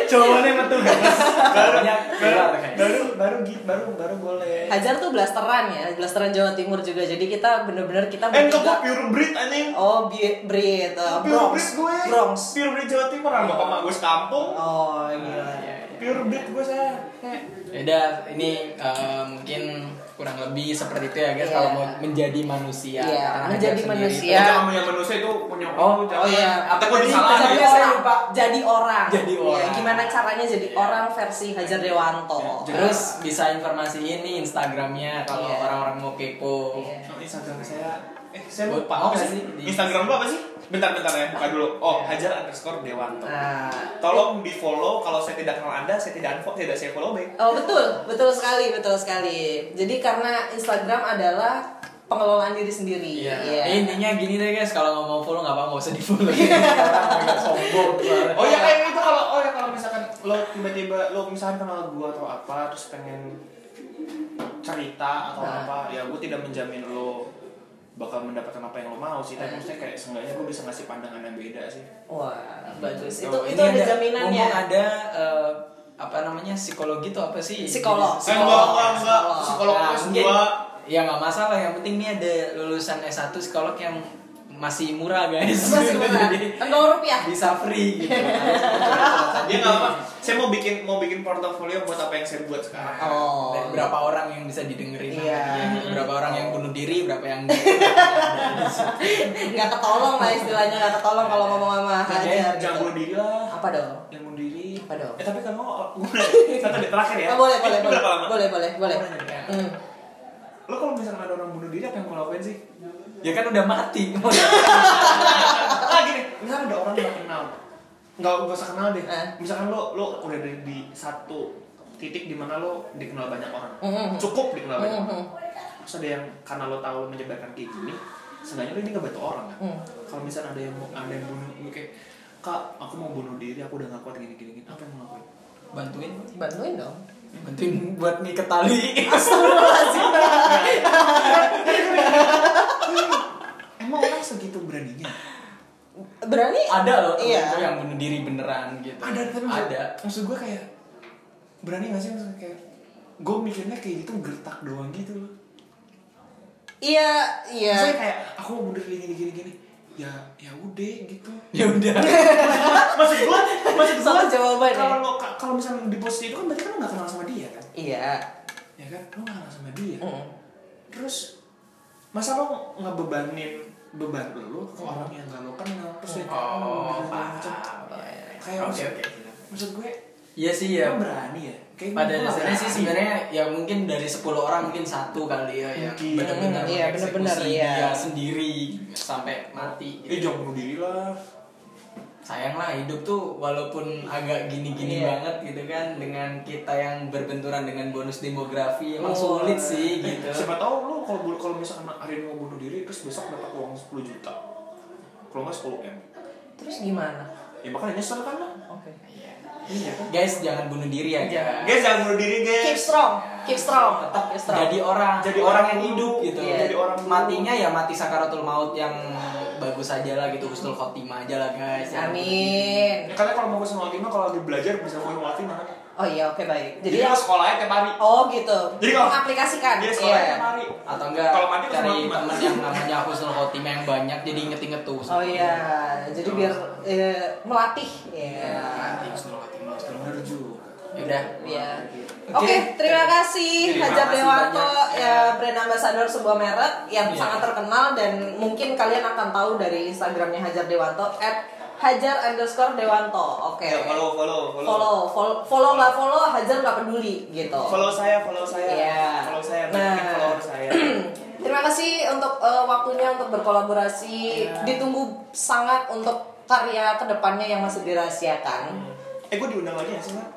[SPEAKER 4] Jawabannya metu guys. Banyak keluar guys.
[SPEAKER 5] baru baru gitu baru baru boleh Eh,
[SPEAKER 1] Hajar tuh blasteran ya, blasteran Jawa Timur juga. Jadi kita bener-bener kita
[SPEAKER 5] eh enggak
[SPEAKER 1] bertiga-
[SPEAKER 5] gue pure breed anjing
[SPEAKER 1] Oh, bi- Brit, uh,
[SPEAKER 5] pure
[SPEAKER 1] Bronx,
[SPEAKER 5] breed gue
[SPEAKER 1] Bronx.
[SPEAKER 5] pure breed Jawa Timur sama sama gue sekampung
[SPEAKER 1] Oh,
[SPEAKER 4] Ah,
[SPEAKER 1] gila.
[SPEAKER 5] pure breed gue saya
[SPEAKER 4] Yaudah, iya. Ya ini eh, mungkin kurang lebih seperti itu ya guys
[SPEAKER 1] Iya.
[SPEAKER 4] kalau mau menjadi manusia.
[SPEAKER 1] Iya,
[SPEAKER 4] Karena
[SPEAKER 1] menjadi
[SPEAKER 4] sendiri
[SPEAKER 1] manusia.
[SPEAKER 5] Eh, jangan punya manusia itu punya
[SPEAKER 4] Oh,
[SPEAKER 5] jangan.
[SPEAKER 1] Iya. oh iya.
[SPEAKER 5] Nanti gua
[SPEAKER 4] Jadi,
[SPEAKER 5] disalahin.
[SPEAKER 1] Jadi
[SPEAKER 4] Saya
[SPEAKER 1] orang,
[SPEAKER 4] lupa.
[SPEAKER 1] jadi orang.
[SPEAKER 4] Jadi
[SPEAKER 1] Iya,
[SPEAKER 4] orang.
[SPEAKER 1] gimana caranya jadi orang versi Hajar Dewanto?
[SPEAKER 5] Ya,
[SPEAKER 4] tuh. Terus bisa informasiin nih Instagramnya kalau
[SPEAKER 1] Iya.
[SPEAKER 4] orang-orang mau kepo.
[SPEAKER 1] Iya.
[SPEAKER 5] Oh, Instagram saya eh saya
[SPEAKER 4] Buat
[SPEAKER 5] lupa
[SPEAKER 4] apa
[SPEAKER 5] Apa
[SPEAKER 4] sih?
[SPEAKER 5] Instagram lu apa sih? Bentar-bentar ya, buka dulu. Oh, Hajar underscore Dewanto.
[SPEAKER 1] Nah,
[SPEAKER 5] Tolong di follow kalau saya tidak kenal anda, saya tidak unfollow, tidak saya follow back.
[SPEAKER 1] Oh betul, betul sekali, betul sekali. Jadi karena Instagram adalah pengelolaan diri sendiri.
[SPEAKER 4] Iya.
[SPEAKER 1] Iya.
[SPEAKER 4] Eh, Intinya gini deh guys, kalau nggak mau follow nggak apa-apa, nggak usah iya, di follow. Orang sombong.
[SPEAKER 5] Oh ya kayak itu kalau oh ya kalau misalkan lo tiba-tiba lo misalkan kenal gua atau apa terus pengen cerita atau
[SPEAKER 1] Nah.
[SPEAKER 5] apa ya gua tidak menjamin lo bakal mendapatkan apa yang lo mau sih tapi maksudnya kayak seenggaknya gua bisa ngasih pandangan yang beda sih
[SPEAKER 1] Wah, bagus.
[SPEAKER 4] Tuh,
[SPEAKER 5] Oh,
[SPEAKER 1] Itu
[SPEAKER 4] ini
[SPEAKER 1] itu ada ya? jaminannya.
[SPEAKER 4] ngomong ada eh, apa namanya psikologi itu apa sih?
[SPEAKER 1] Psikolog.
[SPEAKER 4] Jadi,
[SPEAKER 5] Eh, enggak, enggak, enggak.
[SPEAKER 1] Psikolog.
[SPEAKER 5] Psikolog
[SPEAKER 4] Nah,
[SPEAKER 5] plus
[SPEAKER 4] mungkin-
[SPEAKER 5] dua.
[SPEAKER 4] Ya nggak masalah, yang penting nih ada lulusan S1 psikolog yang masih murah guys
[SPEAKER 1] Masih murah.
[SPEAKER 4] Jadi,
[SPEAKER 1] Nol rupiah.
[SPEAKER 4] bisa free gitu
[SPEAKER 5] Dia nggak apa. Saya mau bikin mau bikin portofolio buat apa yang saya buat sekarang.
[SPEAKER 1] Oh.
[SPEAKER 4] Dan berapa orang yang bisa didengerin
[SPEAKER 1] Iya.
[SPEAKER 4] namanya, berapa orang yang bunuh diri berapa yang
[SPEAKER 1] nggak ketolong lah istilahnya nggak ketolong kalau ngomong sama
[SPEAKER 5] Jangan-
[SPEAKER 1] Hajar.
[SPEAKER 5] Jangan
[SPEAKER 1] gitu.
[SPEAKER 5] bunuh diri lah.
[SPEAKER 1] Apa dong?
[SPEAKER 5] Yang bunuh diri.
[SPEAKER 1] Apa dong?
[SPEAKER 5] Eh tapi kan mau satu di terakhir ya.
[SPEAKER 1] Oh, boleh,
[SPEAKER 5] Eh,
[SPEAKER 1] boleh,
[SPEAKER 5] ini
[SPEAKER 1] boleh,
[SPEAKER 5] berapa lama?
[SPEAKER 1] boleh, boleh, boleh.
[SPEAKER 5] Iya.
[SPEAKER 1] Hmm.
[SPEAKER 5] Lo kalau misalnya ada orang bunuh diri apa yang mau lakuin sih?
[SPEAKER 4] ya kan udah mati mau
[SPEAKER 1] Iya.
[SPEAKER 5] ah gini nggak ada orang nggak kenal nggak nggak usah kenal deh
[SPEAKER 1] Eh.
[SPEAKER 5] misalkan lo lo udah dari di satu titik di mana lo dikenal banyak orang
[SPEAKER 1] Mhm.
[SPEAKER 5] cukup dikenal banyak
[SPEAKER 1] Mhm.
[SPEAKER 5] orang terus ada yang karena lo tahu lo menyebarkan kayak gini seenggaknya lo ini ngebantu orang kan
[SPEAKER 1] Mhm.
[SPEAKER 5] kalau misalnya ada yang mau ada yang bunuh lo kayak kak aku mau bunuh diri aku udah gak kuat gini gini, gini." apa yang lo lakuin
[SPEAKER 4] bantuin
[SPEAKER 1] Bantuin dong.
[SPEAKER 4] bantuin buat ngikat tali
[SPEAKER 5] emang orang segitu beraninya
[SPEAKER 1] Berani?
[SPEAKER 4] ada loh temen
[SPEAKER 1] Iya. ya?
[SPEAKER 4] gue yang bunuh diri beneran gitu
[SPEAKER 5] ada tapi maksud-
[SPEAKER 4] ada
[SPEAKER 5] maksud gue kayak berani gak sih maksudnya kayak gue mikirnya kayak gitu gertak doang gitu loh
[SPEAKER 1] Iya, iya.
[SPEAKER 5] Saya kayak aku mau mundur gini gini gini gini. Ya ya udah gitu.
[SPEAKER 4] ya udah
[SPEAKER 5] maksud gua, maksud gua
[SPEAKER 1] Satu jawaban ya?
[SPEAKER 5] Kalau lo- kalau misalnya di posisi itu kan berarti kan lo gak kenal sama dia kan?
[SPEAKER 1] Iya.
[SPEAKER 5] Ya kan? Lo gak kenal sama dia.
[SPEAKER 1] Mm.
[SPEAKER 5] Terus masa lo ngebebanin beban lo ke orang yang gak lo kenal terus dia kayak,
[SPEAKER 4] oh
[SPEAKER 5] gini, gini,
[SPEAKER 4] paham
[SPEAKER 5] macam. Kayak
[SPEAKER 4] oke
[SPEAKER 5] maksud-
[SPEAKER 4] oke
[SPEAKER 5] Maksud gue,
[SPEAKER 4] iya sih
[SPEAKER 5] lo
[SPEAKER 4] ya
[SPEAKER 5] berani ya? Kayak
[SPEAKER 4] pada
[SPEAKER 1] gitu?
[SPEAKER 5] gue gak
[SPEAKER 4] dasarnya sih
[SPEAKER 5] berani.
[SPEAKER 4] sebenarnya ya mungkin dari 10 orang mungkin satu kali ya yang
[SPEAKER 5] Mungkin.
[SPEAKER 4] benar-benar
[SPEAKER 1] Hmm, iya,
[SPEAKER 4] mengeksekusi
[SPEAKER 1] benar-benar, iya.
[SPEAKER 4] dia sendiri sampai mati
[SPEAKER 5] Eh
[SPEAKER 4] gitu.
[SPEAKER 5] jangan bunuh diri lah.
[SPEAKER 4] sayang lah hidup tuh walaupun agak gini-gini
[SPEAKER 1] Iya.
[SPEAKER 4] banget gitu kan dengan kita yang berbenturan dengan bonus demografi emang
[SPEAKER 1] Oh.
[SPEAKER 4] sulit sih gitu
[SPEAKER 5] Eh, Siapa tahu lu kalau bu- kalau misalkan hari ini mau bunuh diri terus besok dapat uang 10 juta. Kalau nggak 10 m.
[SPEAKER 1] Terus gimana?
[SPEAKER 5] Ya makanya nyesel kan lo.
[SPEAKER 1] Oke.
[SPEAKER 5] Iya kan.
[SPEAKER 4] guys jangan bunuh diri ya
[SPEAKER 1] Jangan.
[SPEAKER 4] guys
[SPEAKER 5] Guys jangan bunuh diri
[SPEAKER 1] Keep
[SPEAKER 5] guys.
[SPEAKER 1] strong, keep strong,
[SPEAKER 4] tetap
[SPEAKER 1] keep strong.
[SPEAKER 4] jadi orang
[SPEAKER 5] Jadi
[SPEAKER 4] orang,
[SPEAKER 5] orang
[SPEAKER 4] yang
[SPEAKER 5] dulu.
[SPEAKER 4] hidup gitu
[SPEAKER 1] Iya.
[SPEAKER 5] Jadi orang dulu.
[SPEAKER 4] matinya ya mati sakaratul maut yang bagus aja lah gitu husnul khotimah aja lah guys Jangan bunuh diri.
[SPEAKER 1] Amin.
[SPEAKER 5] Ya, kalian kalau mau ke sama Ultima kalau lagi belajar bisa follow Ultima kan.
[SPEAKER 1] Oh iya, oke baik.
[SPEAKER 5] Jadi
[SPEAKER 1] Jadi
[SPEAKER 5] kalau sekolahnya tiap hari.
[SPEAKER 1] oh gitu.
[SPEAKER 5] Jadi ya? kalau-
[SPEAKER 1] aplikasikan.
[SPEAKER 5] Dia
[SPEAKER 1] Iya.
[SPEAKER 5] sekolahnya tiap hari.
[SPEAKER 4] atau enggak
[SPEAKER 5] Kalau mati ke
[SPEAKER 4] cari
[SPEAKER 5] sama
[SPEAKER 4] temen yang namanya husnul khotimah yang banyak jadi inget-inget tuh
[SPEAKER 1] Oh iya, jadi biar eh, melatih. Iya.
[SPEAKER 4] Nanti husnul khotimah husnul khotimah.
[SPEAKER 5] Bener juga.
[SPEAKER 4] yaudah
[SPEAKER 1] Iya.
[SPEAKER 4] Oke.
[SPEAKER 1] Oke, terima kasih
[SPEAKER 4] Terima
[SPEAKER 1] Hajar
[SPEAKER 4] kasih
[SPEAKER 1] Dewanto
[SPEAKER 4] banyak.
[SPEAKER 1] ya brand ambassador sebuah merek yang
[SPEAKER 4] Iya.
[SPEAKER 1] sangat terkenal dan mungkin kalian akan tahu dari Instagramnya Hajar Dewanto at Hajar underscore Dewanto. Oke.
[SPEAKER 5] Ya follow follow follow.
[SPEAKER 1] follow, follow, follow nggak follow, Hajar nggak peduli gitu.
[SPEAKER 5] Follow saya, follow saya.
[SPEAKER 1] Iya.
[SPEAKER 5] Follow saya,
[SPEAKER 1] Nah.
[SPEAKER 5] nah. follow saya.
[SPEAKER 1] Terima kasih untuk eh, waktunya untuk berkolaborasi.
[SPEAKER 5] Iya.
[SPEAKER 1] Ditunggu sangat untuk karya kedepannya yang masih dirahasiakan.
[SPEAKER 5] eh gue diundang lagi ya sih Mbak?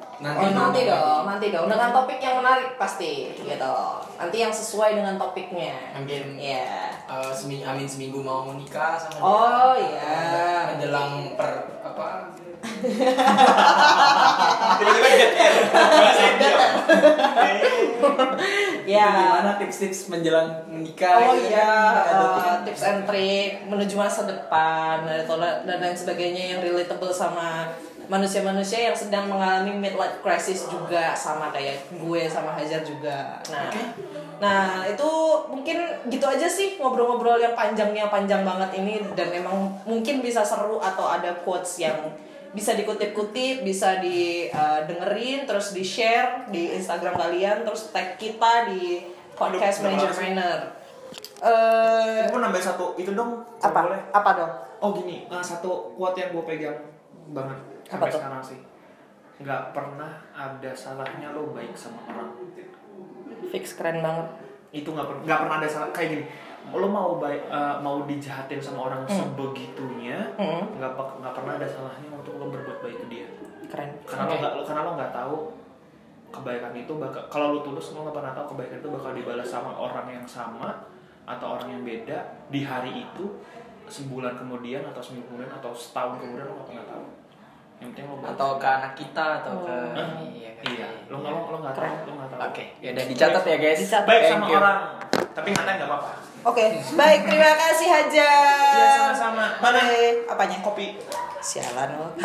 [SPEAKER 1] Oh,
[SPEAKER 4] nanti dong.
[SPEAKER 1] nanti dong, nanti dong dengan topik yang menarik pasti gitu. Nanti yang sesuai dengan topiknya.
[SPEAKER 4] Mungkin.
[SPEAKER 1] Iya.
[SPEAKER 4] Eh, semi- amin seminggu mau nikah sama
[SPEAKER 1] Oh iya.
[SPEAKER 4] dia. menjelang per apa
[SPEAKER 5] Tiba-tiba dia
[SPEAKER 1] Iya. Ya.
[SPEAKER 4] Itu gimana tips-tips menjelang menikah
[SPEAKER 1] Oh
[SPEAKER 4] gitu
[SPEAKER 1] iya,
[SPEAKER 4] kan? Ada
[SPEAKER 1] eh,
[SPEAKER 4] tips.
[SPEAKER 1] tips and trick menuju masa depan dan dan lain sebagainya yang relatable sama manusia-manusia yang sedang mengalami midlife crisis juga sama kayak gue sama Hajar juga. Nah, nah itu mungkin gitu aja sih ngobrol-ngobrol yang panjangnya panjang banget ini dan emang mungkin bisa seru atau ada quotes yang bisa dikutip-kutip, bisa didengerin, terus di-share di Instagram kalian, terus tag kita di podcast
[SPEAKER 5] Aduh,
[SPEAKER 1] manager
[SPEAKER 5] kenapa sih?
[SPEAKER 1] Trainer. Eh
[SPEAKER 5] Gue nambahin satu itu dong. kalau
[SPEAKER 1] apa?
[SPEAKER 5] Boleh.
[SPEAKER 1] Apa dong?
[SPEAKER 5] Oh gini, nah, satu quote yang gue pegang banget
[SPEAKER 1] Apa
[SPEAKER 5] sampai
[SPEAKER 1] tuh?
[SPEAKER 5] sekarang sih. Nggak pernah ada salahnya lo baik sama orang.
[SPEAKER 1] Fix keren banget.
[SPEAKER 5] Itu nggak pernah nggak pernah ada salah kayak gini. Lo mau baik eh, mau dijahatin sama orang
[SPEAKER 4] Hmm.
[SPEAKER 5] sebegitunya,
[SPEAKER 1] Hmm.
[SPEAKER 5] nggak pe- nggak pernah ada salahnya untuk lo berbuat baik ke dia.
[SPEAKER 1] Keren.
[SPEAKER 5] Karena lo
[SPEAKER 4] Oke.
[SPEAKER 5] nggak lo karena lo nggak tahu kebaikan itu bakal kalau lo tulus lo nggak pernah tahu kebaikan itu bakal dibalas sama orang yang sama atau orang yang beda di hari itu sebulan kemudian atau seminggu kemudian atau setahun kemudian lo nggak pernah tahu yang penting lo baik.
[SPEAKER 4] atau ke anak kita atau ke
[SPEAKER 1] Oh.
[SPEAKER 5] Hah?
[SPEAKER 4] iya kan?
[SPEAKER 5] iya lo nggak lo lo nggak tahu lo nggak tahu
[SPEAKER 4] oke ya udah dicatat ya guys
[SPEAKER 1] Dicatat.
[SPEAKER 5] baik
[SPEAKER 4] Thank
[SPEAKER 5] sama
[SPEAKER 4] you.
[SPEAKER 5] orang tapi ngatain nggak apa-apa
[SPEAKER 1] Oke, baik terima kasih Hajar.
[SPEAKER 5] Iya, sama-sama. Mana?
[SPEAKER 1] Oke, apanya?
[SPEAKER 5] kopi
[SPEAKER 1] Sialan lo.